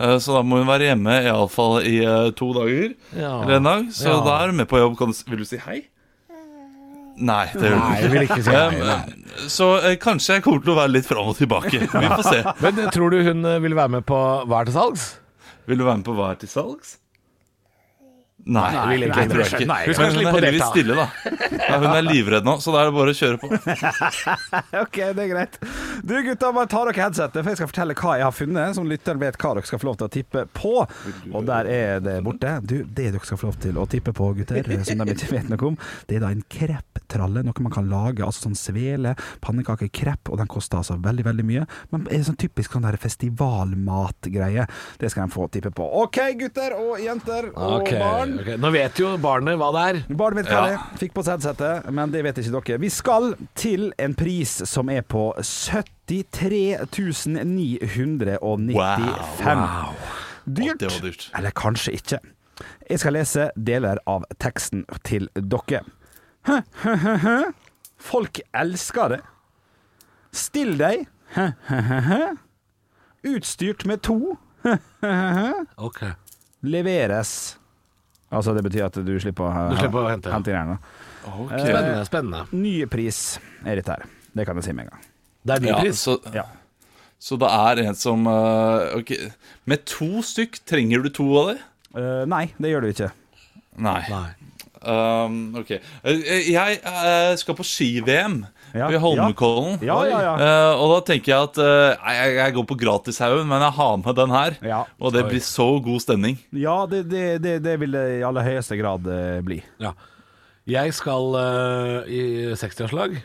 Speaker 5: Eh, Så da må hun være hjemme iallfall i eh, to dager.
Speaker 3: Ja.
Speaker 5: Eller en dag. Så
Speaker 3: Ja.
Speaker 5: da er hun med på jobb. Kan du, s- vil du si hei? Nei, det gjør
Speaker 3: Nei,
Speaker 5: du
Speaker 3: jeg vil ikke si hei,
Speaker 5: Eh, Så eh, kanskje jeg kommer til å være litt fram og
Speaker 3: <laughs>
Speaker 5: tilbake. Vi får se.
Speaker 3: Men eh, tror du hun eh, vil være med på Hva er til salgs?
Speaker 5: Vil du være med på Hva er til salgs? Nei,
Speaker 3: Nei,
Speaker 5: vil egentlig
Speaker 3: nei,
Speaker 5: ikke.
Speaker 3: nei, nei.
Speaker 5: Men
Speaker 3: Hun skal
Speaker 5: hun
Speaker 3: slippe
Speaker 5: er
Speaker 3: å
Speaker 5: heldigvis
Speaker 3: delta.
Speaker 5: stille, da. Ja, hun er livredd nå, så da er det bare å kjøre på.
Speaker 4: <laughs> OK, det er greit. Du gutta, bare ta dere headsetet, for jeg skal fortelle hva jeg har funnet, som lytteren vet hva dere skal få lov til å tippe på. Og der er det borte. Du, det dere skal få lov til å tippe på, gutter, eh, som de ikke vet noe om, det er da en krepptralle. Noe man kan lage, altså sånn svele, pannekake, krepp, og den koster altså veldig, veldig mye. Men er sånn typisk sånn der festivalmatgreie. Det skal de få tippe på. OK, gutter og jenter og
Speaker 3: Ah, Ok,
Speaker 4: barn.
Speaker 3: ok. Nå vet jo barnet hva det er.
Speaker 4: Barn vet hva
Speaker 3: Ja.
Speaker 4: det er. Fikk på seg headsetet, men det vet ikke dere. Vi skal til en pris som er på 73 995.
Speaker 5: Wow.
Speaker 4: Dyrt.
Speaker 5: Det var dyrt.
Speaker 4: Eller kanskje ikke. Jeg skal lese deler av teksten til dere. Hø, hø, hø, hø. Folk elsker det. Still deg. Hø, hø, hø, hø. Utstyrt med to. Hø, hø, hø, hø.
Speaker 3: Ok
Speaker 4: Leveres. Altså, det betyr at du slipper å,
Speaker 3: Du slipper å hente, ja.
Speaker 4: hente gjerne.
Speaker 5: Ok.
Speaker 3: Spennende, spennende.
Speaker 4: Ny pris er dette her. Det kan jeg si med en gang.
Speaker 3: Det er ny
Speaker 5: Ja,
Speaker 3: pris.
Speaker 5: så, så det er en som eh, Ok, med to stykk, trenger du to av dem?
Speaker 4: Eh, nei, det gjør du ikke.
Speaker 5: Nei. Um, ok. Eh, Jeg eh, skal på ski-VM i Holmenkollen.
Speaker 4: Ja, ja, ja.
Speaker 5: Eh, og da tenker jeg at eh, nei, jeg, jeg går på gratishaugen, men jeg har med den her. Og det
Speaker 4: Oi.
Speaker 5: blir så god stemning.
Speaker 4: Ja, det, det, det, det vil det i aller høyeste grad eh, bli.
Speaker 3: Ja. Jeg skal eh, i 60-årslag,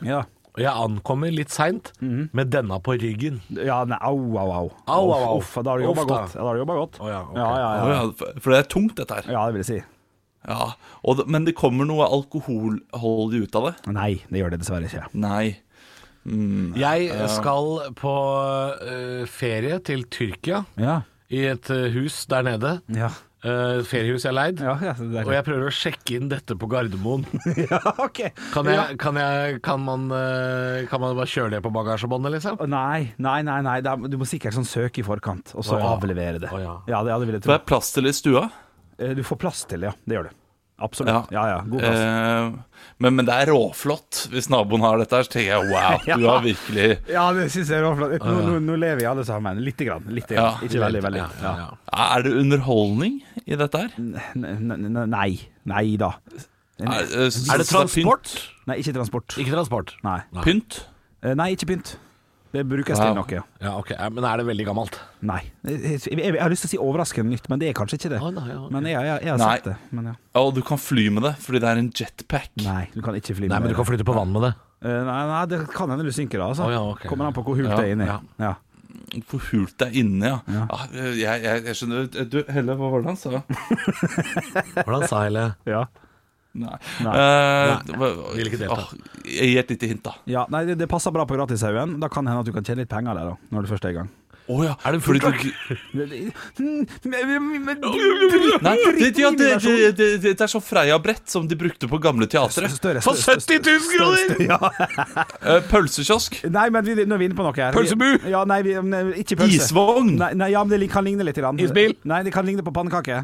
Speaker 3: og jeg ankommer litt seint med denne på ryggen.
Speaker 4: Ja, nei, au, au, au.
Speaker 3: Au, au, au.
Speaker 4: Uff, da har du jobba
Speaker 3: Uff, da.
Speaker 4: godt. Da har du jobbet godt. ja,
Speaker 3: ok.
Speaker 4: ja, ja,
Speaker 5: Å ja, for- for det er tungt, dette her.
Speaker 4: Ja, det vil jeg si.
Speaker 5: Ja, og, det- Men det kommer noe alkoholholdig ut av det?
Speaker 4: Nei, det gjør det dessverre ikke.
Speaker 5: Nei. Mm, ja.
Speaker 3: Jeg skal på eh, ferie til Tyrkia,
Speaker 4: Ja.
Speaker 3: i et eh, hus der nede.
Speaker 4: Ja.
Speaker 3: eh, feriehus jeg har leid,
Speaker 4: Ja, ja, det er klart.
Speaker 3: og jeg prøver å sjekke inn dette på Gardermoen.
Speaker 4: <laughs> ja, ok.
Speaker 3: Kan, jeg,
Speaker 4: Ja.
Speaker 3: kan, jeg, kan, man, eh, kan man bare kjøre det på bagasjebåndet, liksom?
Speaker 4: Å, Nei, nei, nei, nei. det er- Du må sikkert sånn søke i forkant, og så
Speaker 3: Å, ja.
Speaker 4: avlevere det.
Speaker 3: Å, ja.
Speaker 4: det, ja, det vil jeg
Speaker 5: Det
Speaker 4: tro.
Speaker 5: er plass til i stua.
Speaker 4: Eh, Du får plass til det, ja. Det gjør du. Absolutt. Ja, ja. God plass.
Speaker 5: Eh, men, men det er råflott hvis naboen har dette her. Så tenker jeg
Speaker 4: <laughs>
Speaker 5: wow, du har virkelig
Speaker 4: Ja, det syns jeg er overflott. Nå, nå, nå lever vi alle sammen lite grann. Lite grann.
Speaker 5: Ja.
Speaker 4: Ikke veldig, veldig.
Speaker 3: Ja,
Speaker 4: Ja.
Speaker 3: ja, ja.
Speaker 5: Er det underholdning i dette her?
Speaker 4: N- n- Nei. Nei da.
Speaker 5: Er,
Speaker 4: Nei,
Speaker 5: eh, så-
Speaker 3: Er det
Speaker 5: så er
Speaker 3: transport?
Speaker 4: ikke transport.
Speaker 3: Ikke transport.
Speaker 4: Nei,
Speaker 5: Pynt? Pynt?
Speaker 4: Eh, nei ikke pynt. Det brukes til
Speaker 5: Wow.
Speaker 4: noe. ja.
Speaker 3: Ja, ok, Eh, Men er det veldig gammelt?
Speaker 4: Nei. Jeg, jeg, jeg har lyst til å si overraskende nytt, men det er kanskje ikke det.
Speaker 3: Å, nei, ja.
Speaker 4: Men jeg, jeg, jeg har
Speaker 5: Nei.
Speaker 4: sett det. Men ja.
Speaker 5: Og du kan fly med det, fordi det er en jetpack.
Speaker 4: Nei, du kan ikke fly med
Speaker 3: Nei, men du
Speaker 4: det.
Speaker 3: kan flytte på vann med det.
Speaker 4: Eh, nei, nei, det kan hende du synker da, altså.
Speaker 3: Å, ja, ok.
Speaker 4: Kommer an på hvor hult
Speaker 5: Ja,
Speaker 4: det er inni.
Speaker 3: ja.
Speaker 4: Ja.
Speaker 5: Hvor hult det er inne, ja. Ah, jeg, jeg, jeg skjønner Eh, Du, Helle, hva var det han sa?
Speaker 3: Hvordan sa jeg det? <laughs>
Speaker 4: Ja.
Speaker 5: Nei.
Speaker 3: Nei.
Speaker 5: Eh, det var-
Speaker 3: Vil ikke delta.
Speaker 5: Ah, Gi et lite hint, da.
Speaker 4: Ja, nei, det, det passer bra på Gratishaugen. Da kan det hende at du kan tjene litt penger der, da, når du først er i gang.
Speaker 5: Å ja. Er det fordi du
Speaker 4: Det- det- <laughs>
Speaker 5: Nei, det, ja,
Speaker 4: Dritten
Speaker 5: det, det, det, det er sånn Freia-brett som de brukte på gamle teatret.
Speaker 4: Større-
Speaker 5: For
Speaker 4: større-
Speaker 5: 70 000 kroner! Eh, Pølsekiosk.
Speaker 4: Nei, men vi, nå er vi inne på noe her. Vi-
Speaker 5: Pølsebu!
Speaker 4: Ja, nei, vi, nei, ikke pølse.
Speaker 5: Isvogn.
Speaker 4: Nei, nei, ja, men det kan ligne litt. Grann.
Speaker 3: Isbil.
Speaker 4: Nei, det kan ligne på pannekake.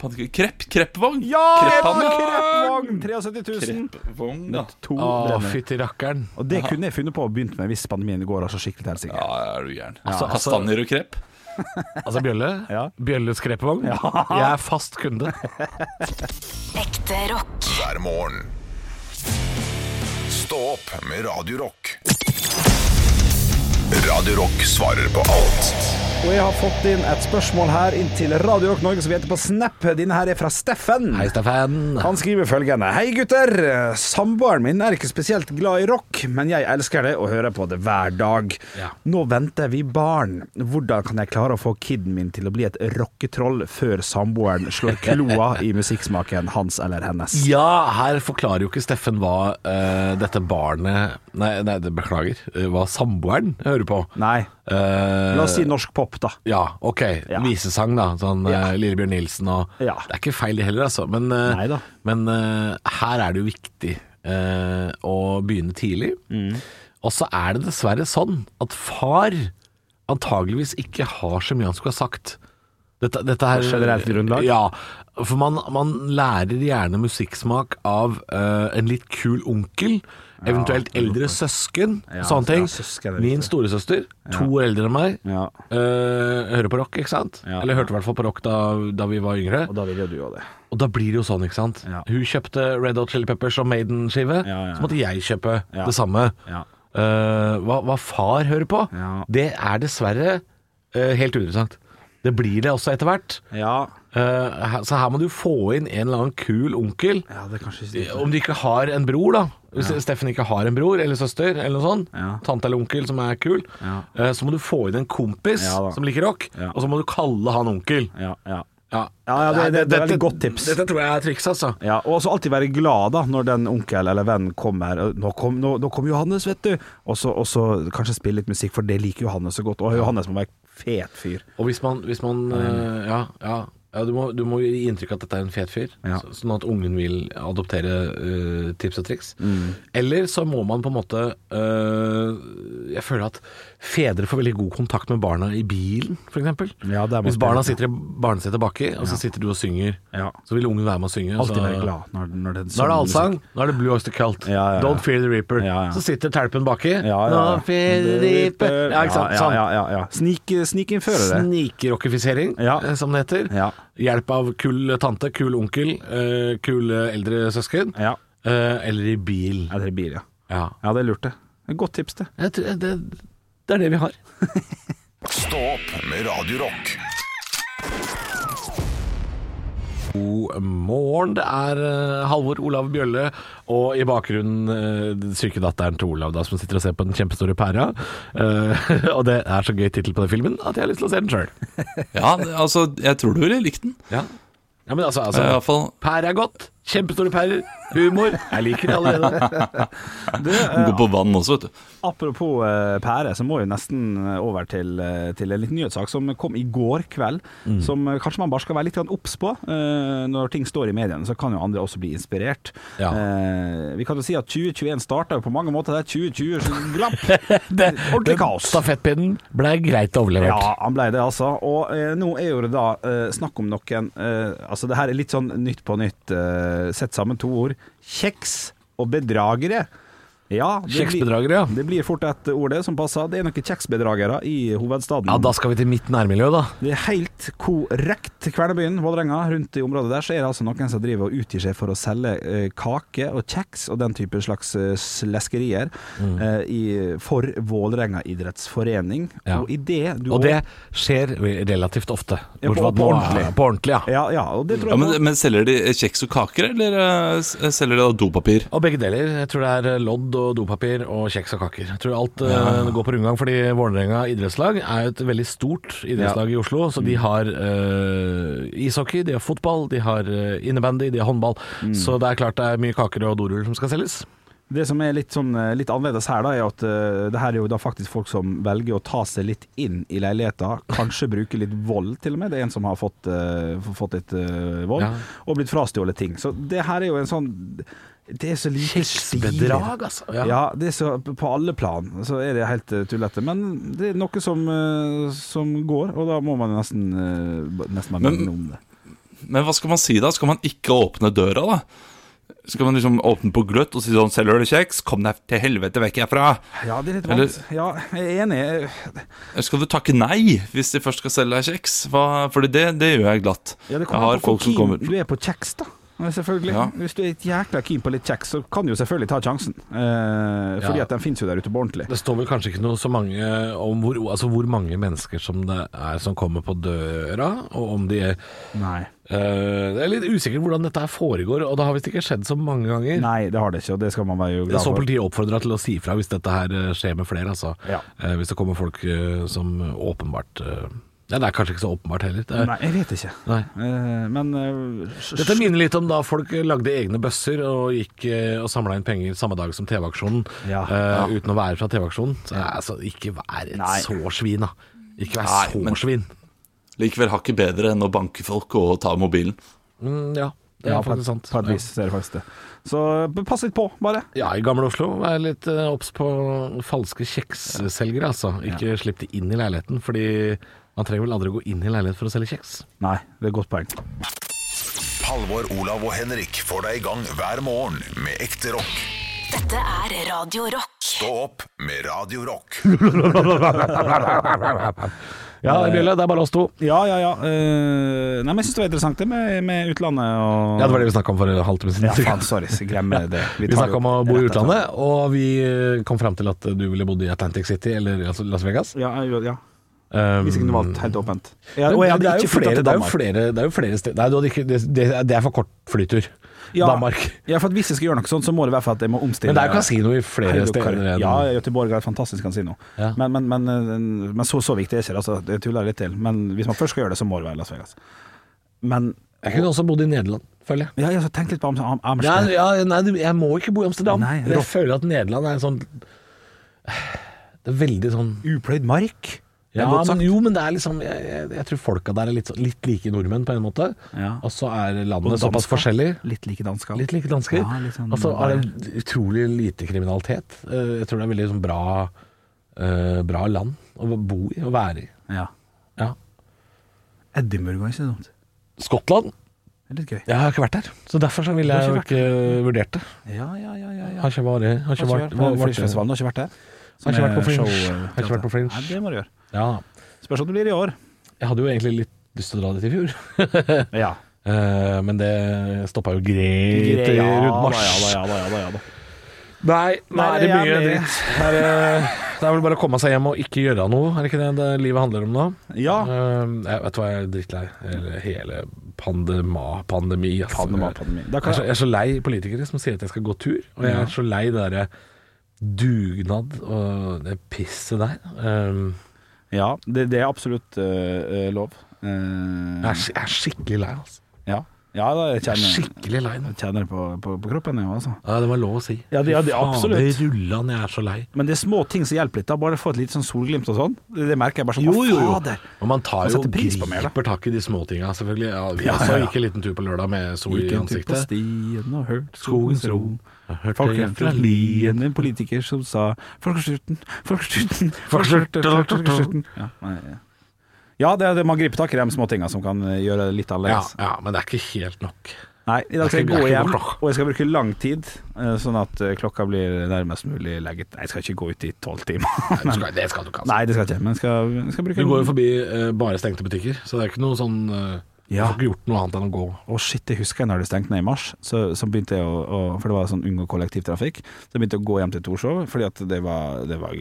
Speaker 5: Panneke- Krepp, kreppvogn.
Speaker 4: Krepvogn! 73 000.
Speaker 5: Kreppvogn, ja.
Speaker 4: To
Speaker 3: Å,
Speaker 4: brenner.
Speaker 3: fytti rakkeren.
Speaker 4: Og det kunne jeg funnet på å begynt med hvis pandemien går altså skikkelig til helsike.
Speaker 5: Ja, er du gæren.
Speaker 3: Altså, altså-
Speaker 5: Kastanjer og krepp.
Speaker 3: Altså Bjølle.
Speaker 4: Ja.
Speaker 3: Bjølles krepevogn. Jeg er fast kunde.
Speaker 2: Ekte rock.
Speaker 1: hver morgen. Stå opp med Radio Rock. Radio Rock svarer på alt.
Speaker 4: Og jeg har fått inn et spørsmål her inn til Radio Rock Norge, som vi heter på Snap. Denne her er fra Steffen.
Speaker 3: Hei, Steffen.
Speaker 4: Han skriver følgende Hei gutter, samboeren min er ikke spesielt glad i rock, men jeg elsker det og hører på det hver dag.
Speaker 3: Ja.
Speaker 4: Nå venter vi barn. Hvordan kan jeg klare å få kiden min til å bli et rocketroll før samboeren slår kloa i musikksmaken hans eller hennes?
Speaker 3: Ja, her forklarer jo ikke Steffen hva eh, dette barnet Nei, nei det beklager. eh, hva samboeren hører på.
Speaker 4: Nei,
Speaker 3: Eh,
Speaker 4: la oss si norsk pop da.
Speaker 3: Ja, ok.
Speaker 4: Ja.
Speaker 3: Visesang, da. Sånn
Speaker 4: Ja.
Speaker 3: eh, Lillebjørn Nilsen og
Speaker 4: Ja.
Speaker 3: Det er ikke feil, det heller, altså. Men, eh,
Speaker 4: Neida.
Speaker 3: men eh, her er det jo viktig eh, å begynne tidlig.
Speaker 4: Mm.
Speaker 3: Og så er det dessverre sånn at far antageligvis ikke har så mye han skulle ha sagt. Dette, dette her,
Speaker 4: Generelt grunnlag?
Speaker 3: Ja. For man, man lærer gjerne musikksmak av eh, en litt kul onkel, eventuelt eldre søsken,
Speaker 4: Ja,
Speaker 3: sånne ting.
Speaker 4: ja, søsken er
Speaker 3: Min
Speaker 4: viktig.
Speaker 3: storesøster, to år eldre enn meg,
Speaker 4: Ja.
Speaker 3: Eh, hører på rock, ikke sant?
Speaker 4: Ja.
Speaker 3: Eller hørte i hvert fall på rock da, da vi var yngre.
Speaker 4: Og da vil jo du òg det.
Speaker 3: Og da blir det jo sånn, ikke sant?
Speaker 4: Ja.
Speaker 3: Hun kjøpte Red Hot Chili Peppers og Maiden-skive.
Speaker 4: Ja, ja, ja.
Speaker 3: Så måtte jeg kjøpe
Speaker 4: Ja.
Speaker 3: det samme.
Speaker 4: Ja.
Speaker 3: Eh, hva, hva far hører på,
Speaker 4: Ja.
Speaker 3: det er dessverre eh, helt uinteressant. Det blir det også etter hvert.
Speaker 4: Ja,
Speaker 3: Eh, her- så her må du få inn en eller annen kul onkel.
Speaker 4: ja det er kanskje ikke så dumt.
Speaker 3: Om du ikke har en bror, da. Hvis Steffen ikke har en bror eller søster, eller noe sånt,
Speaker 4: Ja.
Speaker 3: tante eller onkel som er kul,
Speaker 4: Ja.
Speaker 3: eh, så må du få inn en kompis
Speaker 4: Ja da.
Speaker 3: som liker rock,
Speaker 4: Ja.
Speaker 3: og så må du kalle han onkel.
Speaker 4: Ja, ja.
Speaker 3: Ja,
Speaker 4: Ja, ja, det-
Speaker 3: Nei,
Speaker 4: det- det er
Speaker 3: dette-
Speaker 4: veldig godt tips.
Speaker 3: Dette tror jeg er triks, altså.
Speaker 4: Ja, og også alltid være glad da når den onkel eller venn kommer. Og, Nå kom, nå, nå kom Johannes, vet du. Og så, og så kanskje spille litt musikk, for det liker Johannes så godt. Og Johannes må være fet fyr.
Speaker 3: Og hvis man, hvis man eh, Ja, ja, ja du, må, du må gi inntrykk av at dette er en fet fyr,
Speaker 4: Ja.
Speaker 3: så- sånn at ungen vil adoptere eh, tips og triks.
Speaker 4: Mm.
Speaker 3: Eller så må man på en måte eh, Jeg føler at fedre får veldig god kontakt med barna i bilen, f.eks.
Speaker 4: Ja, det er
Speaker 3: hvis
Speaker 4: man-
Speaker 3: barna sitter i barnesetet baki, og så sitter du og synger,
Speaker 4: Ja.
Speaker 3: så vil ungen være med og synge. og
Speaker 4: Alltid
Speaker 3: så-
Speaker 4: være glad når, når den
Speaker 3: Nå er det allsang, nå er det Blue Oyster Cult.
Speaker 4: Ja, ja, ja.
Speaker 3: Don't Fear the Reaper.
Speaker 4: Ja, ja.
Speaker 3: Så sitter terpen baki.
Speaker 4: Ja, ja, ja.
Speaker 3: Don't Fear the Reaper. Ja, ikke sant.
Speaker 4: Ja,
Speaker 3: Sånn.
Speaker 4: ja, ja, ja. Snik, snikinnføre det.
Speaker 3: Snikrockifisering,
Speaker 4: Ja.
Speaker 3: eh, som det heter.
Speaker 4: Ja.
Speaker 3: Hjelp av kul tante, kul onkel, eh, kule eldre søsken.
Speaker 4: Ja.
Speaker 3: eh, eller i bil.
Speaker 4: ja, det blir ja.
Speaker 3: Ja.
Speaker 4: Ja, det er lurt, det. Det er et Godt tips, det.
Speaker 3: Jeg tror eh, det, det er det vi har.
Speaker 1: Stå opp med Radio Rock.
Speaker 3: God morgen. Det er eh, Halvor Olav Bjølle, og i bakgrunnen eh, den syke datteren til Olav, da, som sitter og ser på den kjempestore pæra. Eh, <laughs> og det er så gøy tittel på den filmen at jeg har lyst til å se den sjøl.
Speaker 5: Ja, det- altså, jeg tror du ville likt den.
Speaker 3: Ja. men altså, altså
Speaker 5: Altså, I hvert fall
Speaker 3: Pære er godt. Kjempestore pærer.
Speaker 5: Humor.
Speaker 4: Jeg liker det allerede. Du, eh,
Speaker 5: Gå på vann også, vet du.
Speaker 4: Apropos eh, pære, så må vi nesten eh, over til, eh, til en liten nyhetssak som kom i går kveld. Som eh, kanskje man bare skal være litt grann obs på. eh, Når ting står i mediene, så kan jo andre også bli inspirert.
Speaker 12: Ja.
Speaker 4: Eh, Vi kan jo si at 2021 starta jo på mange måter der 2020 så glapp. Ordentlig kaos.
Speaker 3: Stafettpinnen ble greit overlevert.
Speaker 4: Ja, han ble det, altså. Og eh, nå er jo det da eh, snakk om noen eh, Altså, det her er litt sånn nytt på nytt. Eh, sett sammen to ord. Kjeks og bedragere. Ja, det blir-
Speaker 3: Kjeksbedragere, ja.
Speaker 4: Det blir fort et ord det som passer. Det er noen kjeksbedragere i hovedstaden.
Speaker 3: Ja, Da skal vi til mitt nærmiljø, da.
Speaker 4: Det er helt korrekt. Kvernebyen, Vålerenga, rundt i området der, så er det altså noen som driver og utgir seg for å selge eh, kake og kjeks og den type slags eh, sleskerier
Speaker 3: Mm.
Speaker 4: eh, i, for Vålerenga idrettsforening.
Speaker 3: Ja.
Speaker 4: Og i det du
Speaker 3: Og det skjer relativt ofte. Bortsett
Speaker 4: Ja, på-
Speaker 3: fra at nå-
Speaker 4: på ordentlig.
Speaker 3: På ordentlig, Mm. ja.
Speaker 4: Ja, ja, og det tror
Speaker 5: Ja,
Speaker 4: jeg
Speaker 5: men, men selger de eh, kjeks og kaker, eller eh, s- selger de da dopapir?
Speaker 3: Og begge deler. Jeg tror det er lodd og dopapir og kjeks og kaker. Jeg tror alt eh, går på rundgang, fordi Vålerenga idrettslag er jo et veldig stort idrettslag i Oslo. Så
Speaker 4: Mm.
Speaker 3: de har eh, ishockey, de har fotball, de har eh, innebandy, de har håndball.
Speaker 4: Mm.
Speaker 3: Så det er klart det er mye kaker og doruller som skal selges.
Speaker 4: Det som er litt, sånn, eh, litt annerledes her, da, er at eh, det her er jo da faktisk folk som velger å ta seg litt inn i leiligheter. Kanskje bruke litt vold, til og med. Det er en som har fått, eh, f- fått litt eh, vold,
Speaker 3: Ja.
Speaker 4: og blitt frastjålet ting. Så det her er jo en sånn Det er så lite stilig.
Speaker 3: Bedrag, altså.
Speaker 4: Ja. det er så På alle plan så er det helt eh, tullete. Men det er noe som, eh, som går, og da må man nesten, eh, b- nesten være
Speaker 5: Men-
Speaker 4: minnet om det.
Speaker 5: Men hva skal man si da? Skal man ikke åpne døra, da? Skal man liksom åpne på gløtt og si sånn 'Selger du kjeks? Kom deg til helvete vekk herfra!'
Speaker 4: Ja, det er litt
Speaker 5: Eller-
Speaker 4: vanskelig. Ja, jeg er enig.
Speaker 5: Skal du takke nei hvis de først skal selge deg kjeks? Hva, fordi det, det gjør jeg glatt.
Speaker 4: Ja, det
Speaker 5: jeg
Speaker 4: kommer
Speaker 5: har
Speaker 4: an på
Speaker 5: folk
Speaker 4: hvor
Speaker 5: som
Speaker 4: keen
Speaker 5: kommer
Speaker 4: du er på kjeks, da. Ja, Selvfølgelig.
Speaker 5: Ja.
Speaker 4: Hvis du er jækla keen på litt kjeks, så kan du jo selvfølgelig ta sjansen. Eh, fordi
Speaker 3: Ja.
Speaker 4: at den finnes jo der ute på ordentlig.
Speaker 3: Det står vel kanskje ikke noe så mange om hvor, altså hvor mange mennesker som det er som kommer på døra, og om de er
Speaker 4: Nei.
Speaker 3: Eh, det er litt usikkert hvordan dette her foregår, og det har visst ikke skjedd så mange ganger.
Speaker 4: Nei, det har det ikke, og det skal man være jo
Speaker 3: Jeg
Speaker 4: glad
Speaker 3: så
Speaker 4: for.
Speaker 3: politiet oppfordra til å si ifra hvis dette her eh, skjer med flere, altså.
Speaker 4: Ja.
Speaker 3: Eh, hvis det kommer folk eh, som åpenbart eh, Nei, det er kanskje ikke så åpenbart heller. Det er,
Speaker 4: Nei, jeg vet ikke.
Speaker 3: Nei.
Speaker 4: Eh, men eh, s-
Speaker 3: Dette minner litt om da folk lagde egne bøsser og gikk eh, og samla inn penger samme dag som TV-aksjonen,
Speaker 4: Ja.
Speaker 3: eh, uten å være fra TV-aksjonen. Så, eh, Altså, ikke vær et
Speaker 4: Nei.
Speaker 3: så svin, da. Ikke vær
Speaker 5: Nei,
Speaker 3: så
Speaker 5: men-
Speaker 3: svin.
Speaker 5: Likevel hakket bedre enn å banke folk og ta mobilen.
Speaker 3: Mm, ja, det er
Speaker 4: ja, på,
Speaker 3: faktisk sant.
Speaker 4: et- på et vis så er det faktisk det. Så eh, pass litt på, bare.
Speaker 3: Ja, i gamle Oslo. Vær litt eh, obs på falske kjeksselgere, altså. Ikke slipp de inn i leiligheten, fordi man trenger vel aldri gå inn i leilighet for å selge kjeks.
Speaker 4: Nei, det er et godt poeng.
Speaker 1: Halvor, Olav og Henrik får deg i gang hver morgen med ekte rock.
Speaker 2: Dette er Radio Rock.
Speaker 1: Stå opp med Radio Rock.
Speaker 3: Ja, Bjelle, det er bare oss to.
Speaker 4: Ja, ja, ja. Eh, nei, men jeg syns det var interessant det med, med utlandet og
Speaker 3: Ja, det var det vi snakka om for en halvtime
Speaker 4: Ja,
Speaker 3: siden.
Speaker 4: faen, sorry. så Glem det.
Speaker 3: Vi
Speaker 4: tar det
Speaker 3: snakka om å
Speaker 4: opp
Speaker 3: bo i
Speaker 4: rett etter.
Speaker 3: utlandet, og vi eh, kom fram til at du ville bodd i Atlantic City eller altså Las Vegas.
Speaker 4: Ja, jeg- ja.
Speaker 3: Um,
Speaker 4: Hvis ikke den valgt helt åpent.
Speaker 3: men
Speaker 4: Ja, og jeg hadde
Speaker 3: det, er jo
Speaker 4: ikke flyttet
Speaker 3: flere,
Speaker 4: til
Speaker 3: det er jo
Speaker 4: Danmark.
Speaker 3: flere Det er jo flere steder Nei, du hadde ikke, det, det er- det er for kort flytur.
Speaker 4: Ja.
Speaker 3: Danmark.
Speaker 4: Ja, for at Hvis jeg skal gjøre noe sånt, så må det være for at jeg må
Speaker 3: Men
Speaker 4: omstille
Speaker 3: det er jo kasino i flere
Speaker 4: Herregud,
Speaker 3: steder.
Speaker 4: Karin.
Speaker 3: enn-
Speaker 4: Ja, Göteborg er et fantastisk kasino.
Speaker 3: Ja.
Speaker 4: Men, men, men, eh, men så, så viktig er ikke det. Altså, det tuller jeg litt til. Men hvis man først skal gjøre det, så må det være Las Vegas. Men
Speaker 3: Jeg kunne også bodd i Nederland, føler jeg.
Speaker 4: ja, jeg har tenkt litt på Am- Am-
Speaker 3: Ja,
Speaker 4: Amsterdam.
Speaker 3: ja, nei, du- jeg må ikke bo i Amsterdam.
Speaker 4: Nei,
Speaker 3: jeg
Speaker 4: Rock-
Speaker 3: føler at Nederland er en sånn Det er veldig sånn
Speaker 4: Upløyd mark. Det er
Speaker 3: ja,
Speaker 4: godt sagt.
Speaker 3: men, Jo, men det er liksom Jeg, jeg, jeg tror folka der er litt, sånn- litt like nordmenn på en måte.
Speaker 4: Ja.
Speaker 3: Og så er landet
Speaker 4: Og
Speaker 3: såpass
Speaker 4: dansker.
Speaker 3: forskjellig.
Speaker 4: Litt like dansker.
Speaker 3: Litt like dansker.
Speaker 4: Ja, litt sånn-
Speaker 3: og så er det utrolig lite kriminalitet. Eh, Jeg tror det er veldig sånn bra eh, Bra land å bo i og være i.
Speaker 4: Ja.
Speaker 3: Ja.
Speaker 4: Edinburgh er ikke så dumt.
Speaker 3: Skottland?
Speaker 4: Det er litt gøy.
Speaker 3: Jeg har ikke vært der. Så derfor så ville
Speaker 4: Du har
Speaker 3: jeg jo
Speaker 4: ikke
Speaker 3: ikke vurdert det.
Speaker 4: Ja, ja, ja. ja, ja.
Speaker 3: Har ikke vært Har
Speaker 4: Har
Speaker 3: ikke
Speaker 4: ikke
Speaker 3: vært,
Speaker 4: vært på
Speaker 3: vært-
Speaker 4: Fringe-festivalen, har ikke vært der.
Speaker 3: Har ikke
Speaker 4: Som
Speaker 3: vært på
Speaker 4: er
Speaker 3: Fringe.
Speaker 4: show-
Speaker 3: Har ikke vært på Fringe.
Speaker 4: Nei, det må du gjøre.
Speaker 3: Ja da.
Speaker 4: Spørs om det blir i år.
Speaker 3: Jeg hadde jo egentlig litt lyst til å dra dit i fjor, <laughs>
Speaker 4: Ja.
Speaker 3: Eh, men det stoppa jo greit i rundt mars.
Speaker 4: Ja da, ja da, ja da, ja da.
Speaker 3: Nei, nå
Speaker 4: Nei,
Speaker 3: er det
Speaker 4: jeg
Speaker 3: mye
Speaker 4: er med.
Speaker 3: dritt. Det er, eh, det er vel bare å komme seg hjem og ikke gjøre noe, er det ikke det, det livet handler om nå?
Speaker 4: Ja.
Speaker 3: Eh, jeg vet du hva, jeg er drittlei Eller hele pandema, pandemi. altså.
Speaker 4: Panama-pandemi.
Speaker 3: Jeg er,
Speaker 4: Da kan
Speaker 3: så, jeg er så lei politikere som sier at jeg skal gå tur, og jeg er så lei det derre dugnad og det pisset der. Eh,
Speaker 4: Ja, det, det er absolutt øh, øh, lov. Eh,
Speaker 3: jeg, er, sk- jeg er skikkelig lei, altså.
Speaker 4: ja. Ja, da, jeg
Speaker 3: Jeg er
Speaker 4: kjenner
Speaker 3: skikkelig lei nå.
Speaker 4: Jeg kjenner det på, på, på kroppen, jeg òg, altså.
Speaker 3: Ja, det var lov å si.
Speaker 4: Ja, det- ja, det-
Speaker 3: Fy faen,
Speaker 4: absolutt.
Speaker 3: Det rulla ned, jeg er så lei.
Speaker 4: Men det er små ting som hjelper litt. da Bare få et lite sånn solglimt og sånn. Det det merker jeg bare sånn.
Speaker 3: Jo,
Speaker 4: «Å,
Speaker 3: jo, jo.
Speaker 4: fader!»
Speaker 3: Og man tar
Speaker 4: Man
Speaker 3: jo
Speaker 4: setter pris på mer, da.
Speaker 3: griper tak i de småtinga, selvfølgelig. Ja, vi
Speaker 4: Ja,
Speaker 3: også
Speaker 4: ja, ja.
Speaker 3: gikk en liten tur på lørdag med sol i
Speaker 4: Gikk en tur på
Speaker 3: ansiktet.
Speaker 4: stien og hørt
Speaker 3: Skogens ro.
Speaker 4: Folk hjem fra Lien, en politiker som sa Folkestyrten, folkestyrten, folkestyrten, folkestyrten. Ja, nei, ja. ja det, er det, man griper tak i de småtinga som kan eh, gjøre det litt
Speaker 3: Ja,
Speaker 4: annerledes.
Speaker 3: ja, men det er ikke helt nok.
Speaker 4: Nei, i dag skal jeg
Speaker 3: Det er ikke- det
Speaker 4: gå
Speaker 3: er ikke
Speaker 4: hjem,
Speaker 3: godt nok.
Speaker 4: og jeg skal bruke lang tid, eh, sånn at eh, klokka blir nærmest mulig legget Nei, jeg skal ikke gå ut i tolv timer.
Speaker 3: Nei, du skal, det skal du ikke, altså.
Speaker 4: Nei, det skal jeg ikke, men jeg skal, jeg skal bruke
Speaker 3: Vi går jo forbi eh, bare stengte butikker, så det er ikke noe sånn eh,
Speaker 4: Ja.
Speaker 3: Du får ikke gjort noe annet enn å gå.
Speaker 4: Å shit, det husker jeg når det stengte ned i mars. Så, så begynte jeg å, å For det var sånn unngå kollektivtrafikk. Så jeg begynte jeg å gå hjem til Torshov, fordi at det var, det var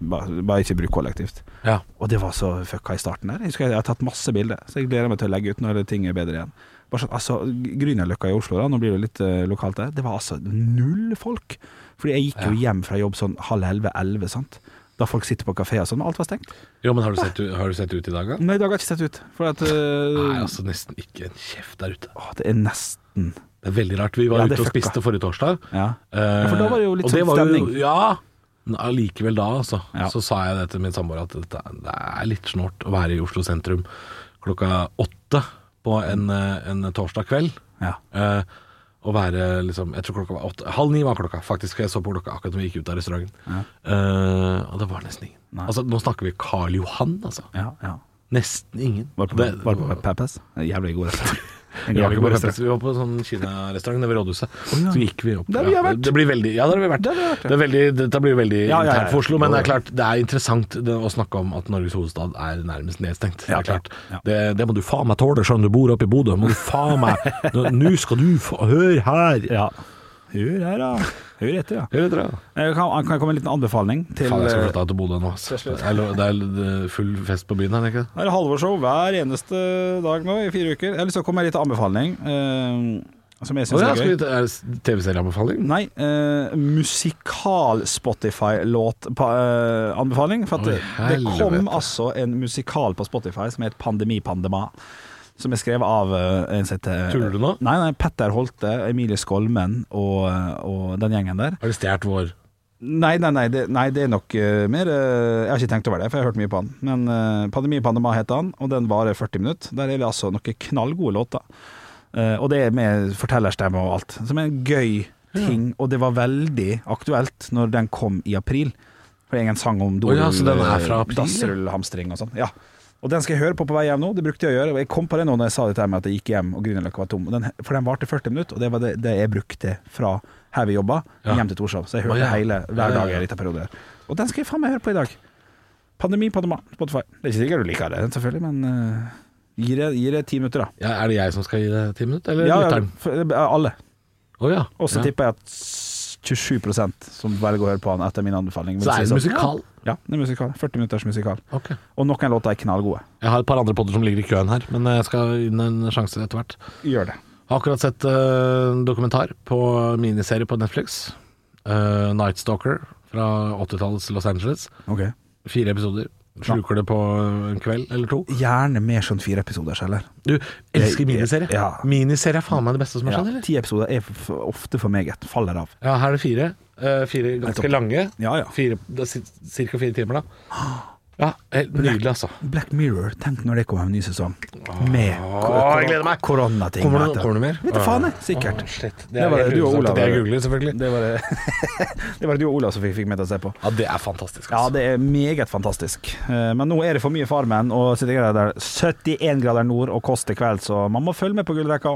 Speaker 4: bare, bare ikke bruk kollektivt.
Speaker 3: Ja.
Speaker 4: Og det var så fucka i starten der. Jeg husker jeg, jeg har tatt masse bilder, så jeg gleder meg til å legge ut når ting er bedre igjen. Bare sånn, altså, Grünerløkka i Oslo, da, nå blir det litt eh, lokalt der, det var altså null folk. Fordi jeg gikk jo hjem fra jobb sånn halv elleve-elleve, sant. Da folk sitter på kafé og sånn, alt var stengt.
Speaker 3: Jo, men har du sett, u- har du sett ut i dag, da?
Speaker 4: Nei, i dag har jeg ikke sett ut. For at
Speaker 3: Nei,
Speaker 4: eh,
Speaker 3: altså nesten ikke en kjeft der ute.
Speaker 4: å, Det er nesten
Speaker 3: Det er veldig rart. Vi var
Speaker 4: Ja, det
Speaker 3: ute og
Speaker 4: fucka.
Speaker 3: spiste forrige torsdag.
Speaker 4: Ja.
Speaker 3: eh,
Speaker 4: for da var det jo litt
Speaker 3: og det
Speaker 4: sånn
Speaker 3: var jo-
Speaker 4: stemning.
Speaker 3: Ja, men allikevel da, altså.
Speaker 4: Ja.
Speaker 3: Så sa jeg det til min samboer at det, det er litt snålt å være i Oslo sentrum klokka åtte på en, eh, en torsdag kveld.
Speaker 4: ja.
Speaker 3: Eh, å være liksom Jeg tror klokka var åtte. Halv ni var klokka, faktisk. Jeg så på klokka akkurat da vi gikk ut av restauranten. Eh, og det var nesten ingen.
Speaker 4: Nei.
Speaker 3: Altså, nå snakker vi Karl Johan, altså.
Speaker 4: Ja, ja.
Speaker 3: Nesten ingen.
Speaker 4: Var på,
Speaker 3: Det-
Speaker 4: var på Peppes. En Jævlig god restaurant. En
Speaker 3: Vi var,
Speaker 4: jævlig
Speaker 3: ikke
Speaker 4: god
Speaker 3: på
Speaker 4: restaurant.
Speaker 3: restaurant. vi var på en sånn kinarestaurant nede ved rådhuset.
Speaker 4: ja.
Speaker 3: Så gikk vi opp
Speaker 4: Der vi
Speaker 3: ja,
Speaker 4: har vært.
Speaker 3: Det blir veldig, ja, der har vi vært.
Speaker 4: Der vi har vært, ja.
Speaker 3: det er veldig, dette blir jo veldig
Speaker 4: Ja, ja, ja.
Speaker 3: internt for Oslo, men det er klart det er interessant det, å snakke om at Norges hovedstad er nærmest nedstengt.
Speaker 4: Ja,
Speaker 3: det, er klart.
Speaker 4: ja.
Speaker 3: Det, det må du faen meg tåle, skjønn du bor oppe i Bodø. Må du faen meg
Speaker 4: <laughs>
Speaker 3: Nå- Nå skal du få Hør her!
Speaker 4: Ja. Hør her, da. Hør etter, ja.
Speaker 3: Hør etter, da.
Speaker 4: Eh, Kan, kan jeg komme med en liten anbefaling til
Speaker 3: Faen, jeg skal
Speaker 4: eh,
Speaker 3: flytte til Bodø nå. ass. Det er, lo- det er l- full fest på byen her, er det ikke det?
Speaker 4: Det eh, er halvårsshow hver eneste dag nå i fire uker. Jeg har lyst til å komme med en liten anbefaling eh, som jeg
Speaker 3: Å
Speaker 4: syns
Speaker 3: ja,
Speaker 4: er
Speaker 3: skal vi
Speaker 4: gøy.
Speaker 3: ta- er det TV-serieanbefaling?
Speaker 4: Nei, eh, musikal-Spotify-låt-anbefaling. eh, for at
Speaker 3: Oi,
Speaker 4: det, det kom
Speaker 3: helvete.
Speaker 4: altså en musikal på Spotify som het Pandemi-pandema. Som er skrevet av eh, en som heter
Speaker 3: Tuller du nå?
Speaker 4: Nei, nei, Petter Holte, Emilie Skolmen og, eh, og den gjengen der.
Speaker 3: Har de stjålet vår
Speaker 4: Nei, nei, nei, det, nei, det er nok eh, mer eh, Jeg har ikke tenkt over det, for jeg har hørt mye på han. Men eh, Pandemi Pandema heter han, og den varer 40 minutter. Der er det altså noen knallgode låter. Eh, og det er med fortellerstemme og alt, som er en gøy ting. Og det var veldig aktuelt når den kom i april. For det er en sang om
Speaker 3: Å ja, så den er fra
Speaker 4: eh,
Speaker 3: april, ja.
Speaker 4: dassrullhamstring og sånn. Ja. Og den skal jeg høre på på vei hjem nå. Det brukte jeg å gjøre. Og jeg kom på det nå når jeg sa dette her med at jeg gikk hjem og Grünerløkka var tom. Og Den, for den varte 40 minutter, og det var det, det jeg brukte fra her vi jobba,
Speaker 3: Ja.
Speaker 4: hjem til Torshov. Så jeg hørte
Speaker 3: Å, ja.
Speaker 4: hele
Speaker 3: Ja,
Speaker 4: hver
Speaker 3: ja,
Speaker 4: dag i
Speaker 3: ja.
Speaker 4: en liten periode. der. Og den skal jeg faen meg høre på i dag. Pandemi, pandema, Spotify. Det er ikke sikkert du liker det, selvfølgelig, men eh, gir det- gir det ti minutter, da.
Speaker 3: ja, Er det jeg som skal gi det ti minutter, eller
Speaker 4: Ja, ja,
Speaker 3: lytteren?
Speaker 4: for- eh, alle.
Speaker 3: Å ja.
Speaker 4: Og så
Speaker 3: ja.
Speaker 4: tipper jeg at 27 som velger å høre på han etter min anbefaling. vil
Speaker 3: Så er det en
Speaker 4: si sånn,
Speaker 3: musikal?
Speaker 4: Ja, ja, det er musikal. 40 minutters musikal.
Speaker 3: Ok.
Speaker 4: Og noen låter er knallgode.
Speaker 3: Jeg har et par andre podder som ligger i køen her, men eh, jeg skal gi den en sjanse etter hvert.
Speaker 4: Gjør det.
Speaker 3: Har akkurat sett eh, en dokumentar på miniserie på Netflix. Eh, Night Stalker fra 80-tallets Los Angeles.
Speaker 4: Ok
Speaker 3: Fire episoder. Sluker det på en kveld eller to.
Speaker 4: Gjerne mer sånn fire episoder, eller?
Speaker 3: Du, elsker
Speaker 4: Jeg-
Speaker 3: miniserie.
Speaker 4: ja.
Speaker 3: Miniserie er faen meg det beste som er skjedd, eller?
Speaker 4: Ti episoder er f- ofte for meget. Faller av.
Speaker 3: Ja, her er det fire. Eh, fire ganske lange.
Speaker 4: Ja, ja.
Speaker 3: Fire, det er ca. fire timer, da. Ja, helt nydelig, altså.
Speaker 4: Black Mirror, tenk når det kommer en ny sesong. Med
Speaker 3: Åh, jeg gleder meg.
Speaker 4: koronating.
Speaker 3: Kommer
Speaker 4: vet
Speaker 3: det,
Speaker 4: du.
Speaker 3: kommer det mer?
Speaker 4: Vet du faen, jeg. Sikkert.
Speaker 3: Åh, shit.
Speaker 4: Det var det du og
Speaker 3: helt
Speaker 4: Olav-
Speaker 3: utsatt. Det jeg googler, selvfølgelig.
Speaker 4: Ah. Det var det, <laughs> det, var det du og Olav som fikk, fikk med til å se på.
Speaker 3: Ja, det er fantastisk.
Speaker 4: Ja,
Speaker 3: Altså.
Speaker 4: det er meget fantastisk. Eh, Men nå er det for mye Farmen, og 71 grader, 71 grader nord og kost til kveld, så man må følge med på gullrekka.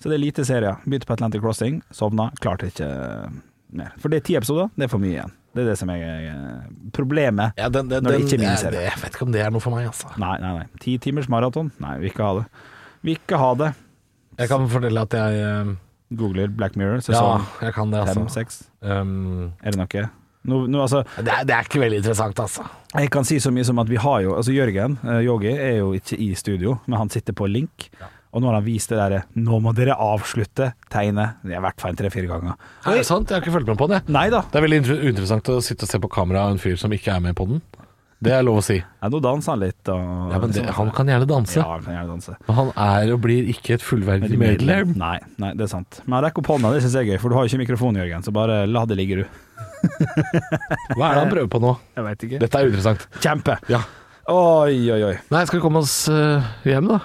Speaker 4: Så det er lite serier. Begynte på Atlantic Crossing, sovna, klarte ikke eh, mer. For det er ti episoder, det er for mye igjen. Det er det som er eh, problemet.
Speaker 3: Ja, den, den,
Speaker 4: Når det
Speaker 3: den-
Speaker 4: ikke er miniserie.
Speaker 3: det- Jeg vet ikke om det er noe for meg, altså.
Speaker 4: Nei, nei, nei. Ti timers maraton? Nei, vi vil ikke ha det. Vil ikke ha det.
Speaker 3: Jeg kan fortelle at jeg eh,
Speaker 4: Googler Black Mirror,
Speaker 3: Ja,
Speaker 4: sesong
Speaker 3: jeg kan det,
Speaker 4: fem,
Speaker 3: altså.
Speaker 4: seks.
Speaker 3: Um,
Speaker 4: Er det noe? Nå, nå, altså,
Speaker 3: det, er, det er ikke veldig interessant, altså.
Speaker 4: Jeg kan si så mye som at vi har jo Altså Jørgen, eh, Yogi, er jo ikke i studio, men han sitter på link. Og nå har han vist det derre 'nå må dere avslutte' tegnet. Det har vært feil tre-fire ganger.
Speaker 3: Er det sant? Jeg har ikke fulgt med på det.
Speaker 4: Nei da.
Speaker 3: Det er veldig inter- interessant å sitte og se på kamera av en fyr som ikke er med på den. Det er lov å si.
Speaker 4: Ja, nå danser han litt. Og,
Speaker 3: Ja, men det, han kan gjerne danse.
Speaker 4: Ja, han kan gjerne danse.
Speaker 3: Men han er og blir ikke et fullverdig medlem.
Speaker 4: Nei, nei, det er sant. Men rekk opp hånda, det syns jeg er gøy, for du har jo ikke mikrofon, Jørgen, så bare la det ligge, du.
Speaker 3: Hva er det han prøver på nå?
Speaker 4: Jeg veit ikke.
Speaker 3: Dette er uinteressant.
Speaker 4: Kjempe!
Speaker 3: Ja.
Speaker 4: Oi, oi, oi.
Speaker 3: Nei, skal vi komme oss eh, hjem, da?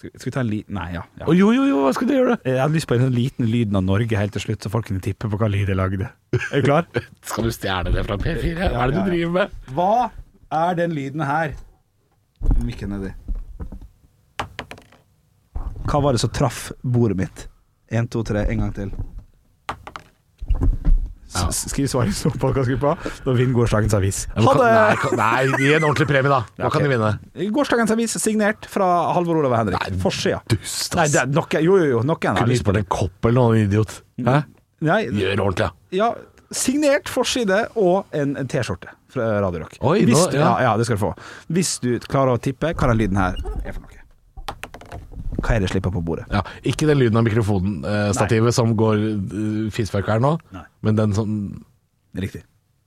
Speaker 4: Skal, skal vi ta en liten Nei, ja. ja.
Speaker 3: Å, jo, jo, jo, hva skal du gjøre?
Speaker 4: Jeg hadde lyst på den liten lyden av Norge helt til slutt, så folk kunne tippe på hva lyd jeg lagde. Er du klar?
Speaker 3: Skal du stjele det fra P4? Hva er det du driver med?
Speaker 4: <laughs> Hva er den lyden her? Mikken nedi. Hva var det som traff bordet mitt? Én, to, tre, en gang til. S- s- Skriv svaret i så podkastgruppa når vi vinner gårsdagens avis. Ha
Speaker 3: Nei,
Speaker 4: det!
Speaker 3: kan- Nei, gi en ordentlig premie, da. Hva kan de vinne?
Speaker 4: Gårsdagens avis signert fra Halvor Olav og Henrik. Forsida.
Speaker 3: Dust,
Speaker 4: Nei, det er noe, jo, jo, jo, noen
Speaker 3: Kunne du
Speaker 4: her.
Speaker 3: spurt en kopp eller noe, idiot? Hæ?
Speaker 4: Nei,
Speaker 3: Mm. Gjør ordentlig, ja.
Speaker 4: ja, signert forside og en, en T-skjorte fra Radio Rock.
Speaker 3: Oi,
Speaker 4: Hvis
Speaker 3: nå-
Speaker 4: du, ja.
Speaker 3: ja.
Speaker 4: Ja, det skal du få. Hvis du klarer å tippe hva den lyden her er for noe. Hva er det jeg slipper på bordet?
Speaker 3: ja. Ikke den lyden av mikrofonstativet som går uh, fistfuck her nå,
Speaker 4: Nei.
Speaker 3: men den som
Speaker 4: Riktig.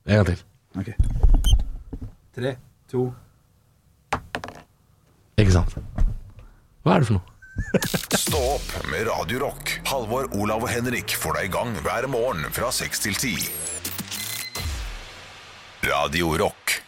Speaker 3: En gang til.
Speaker 4: Ok. Tre, to
Speaker 3: Ikke sant. Hva er det for noe?
Speaker 1: Stå opp med Radio Rock. Halvor, Olav og Henrik får deg i gang hver morgen fra 6 til 10. Radio Rock.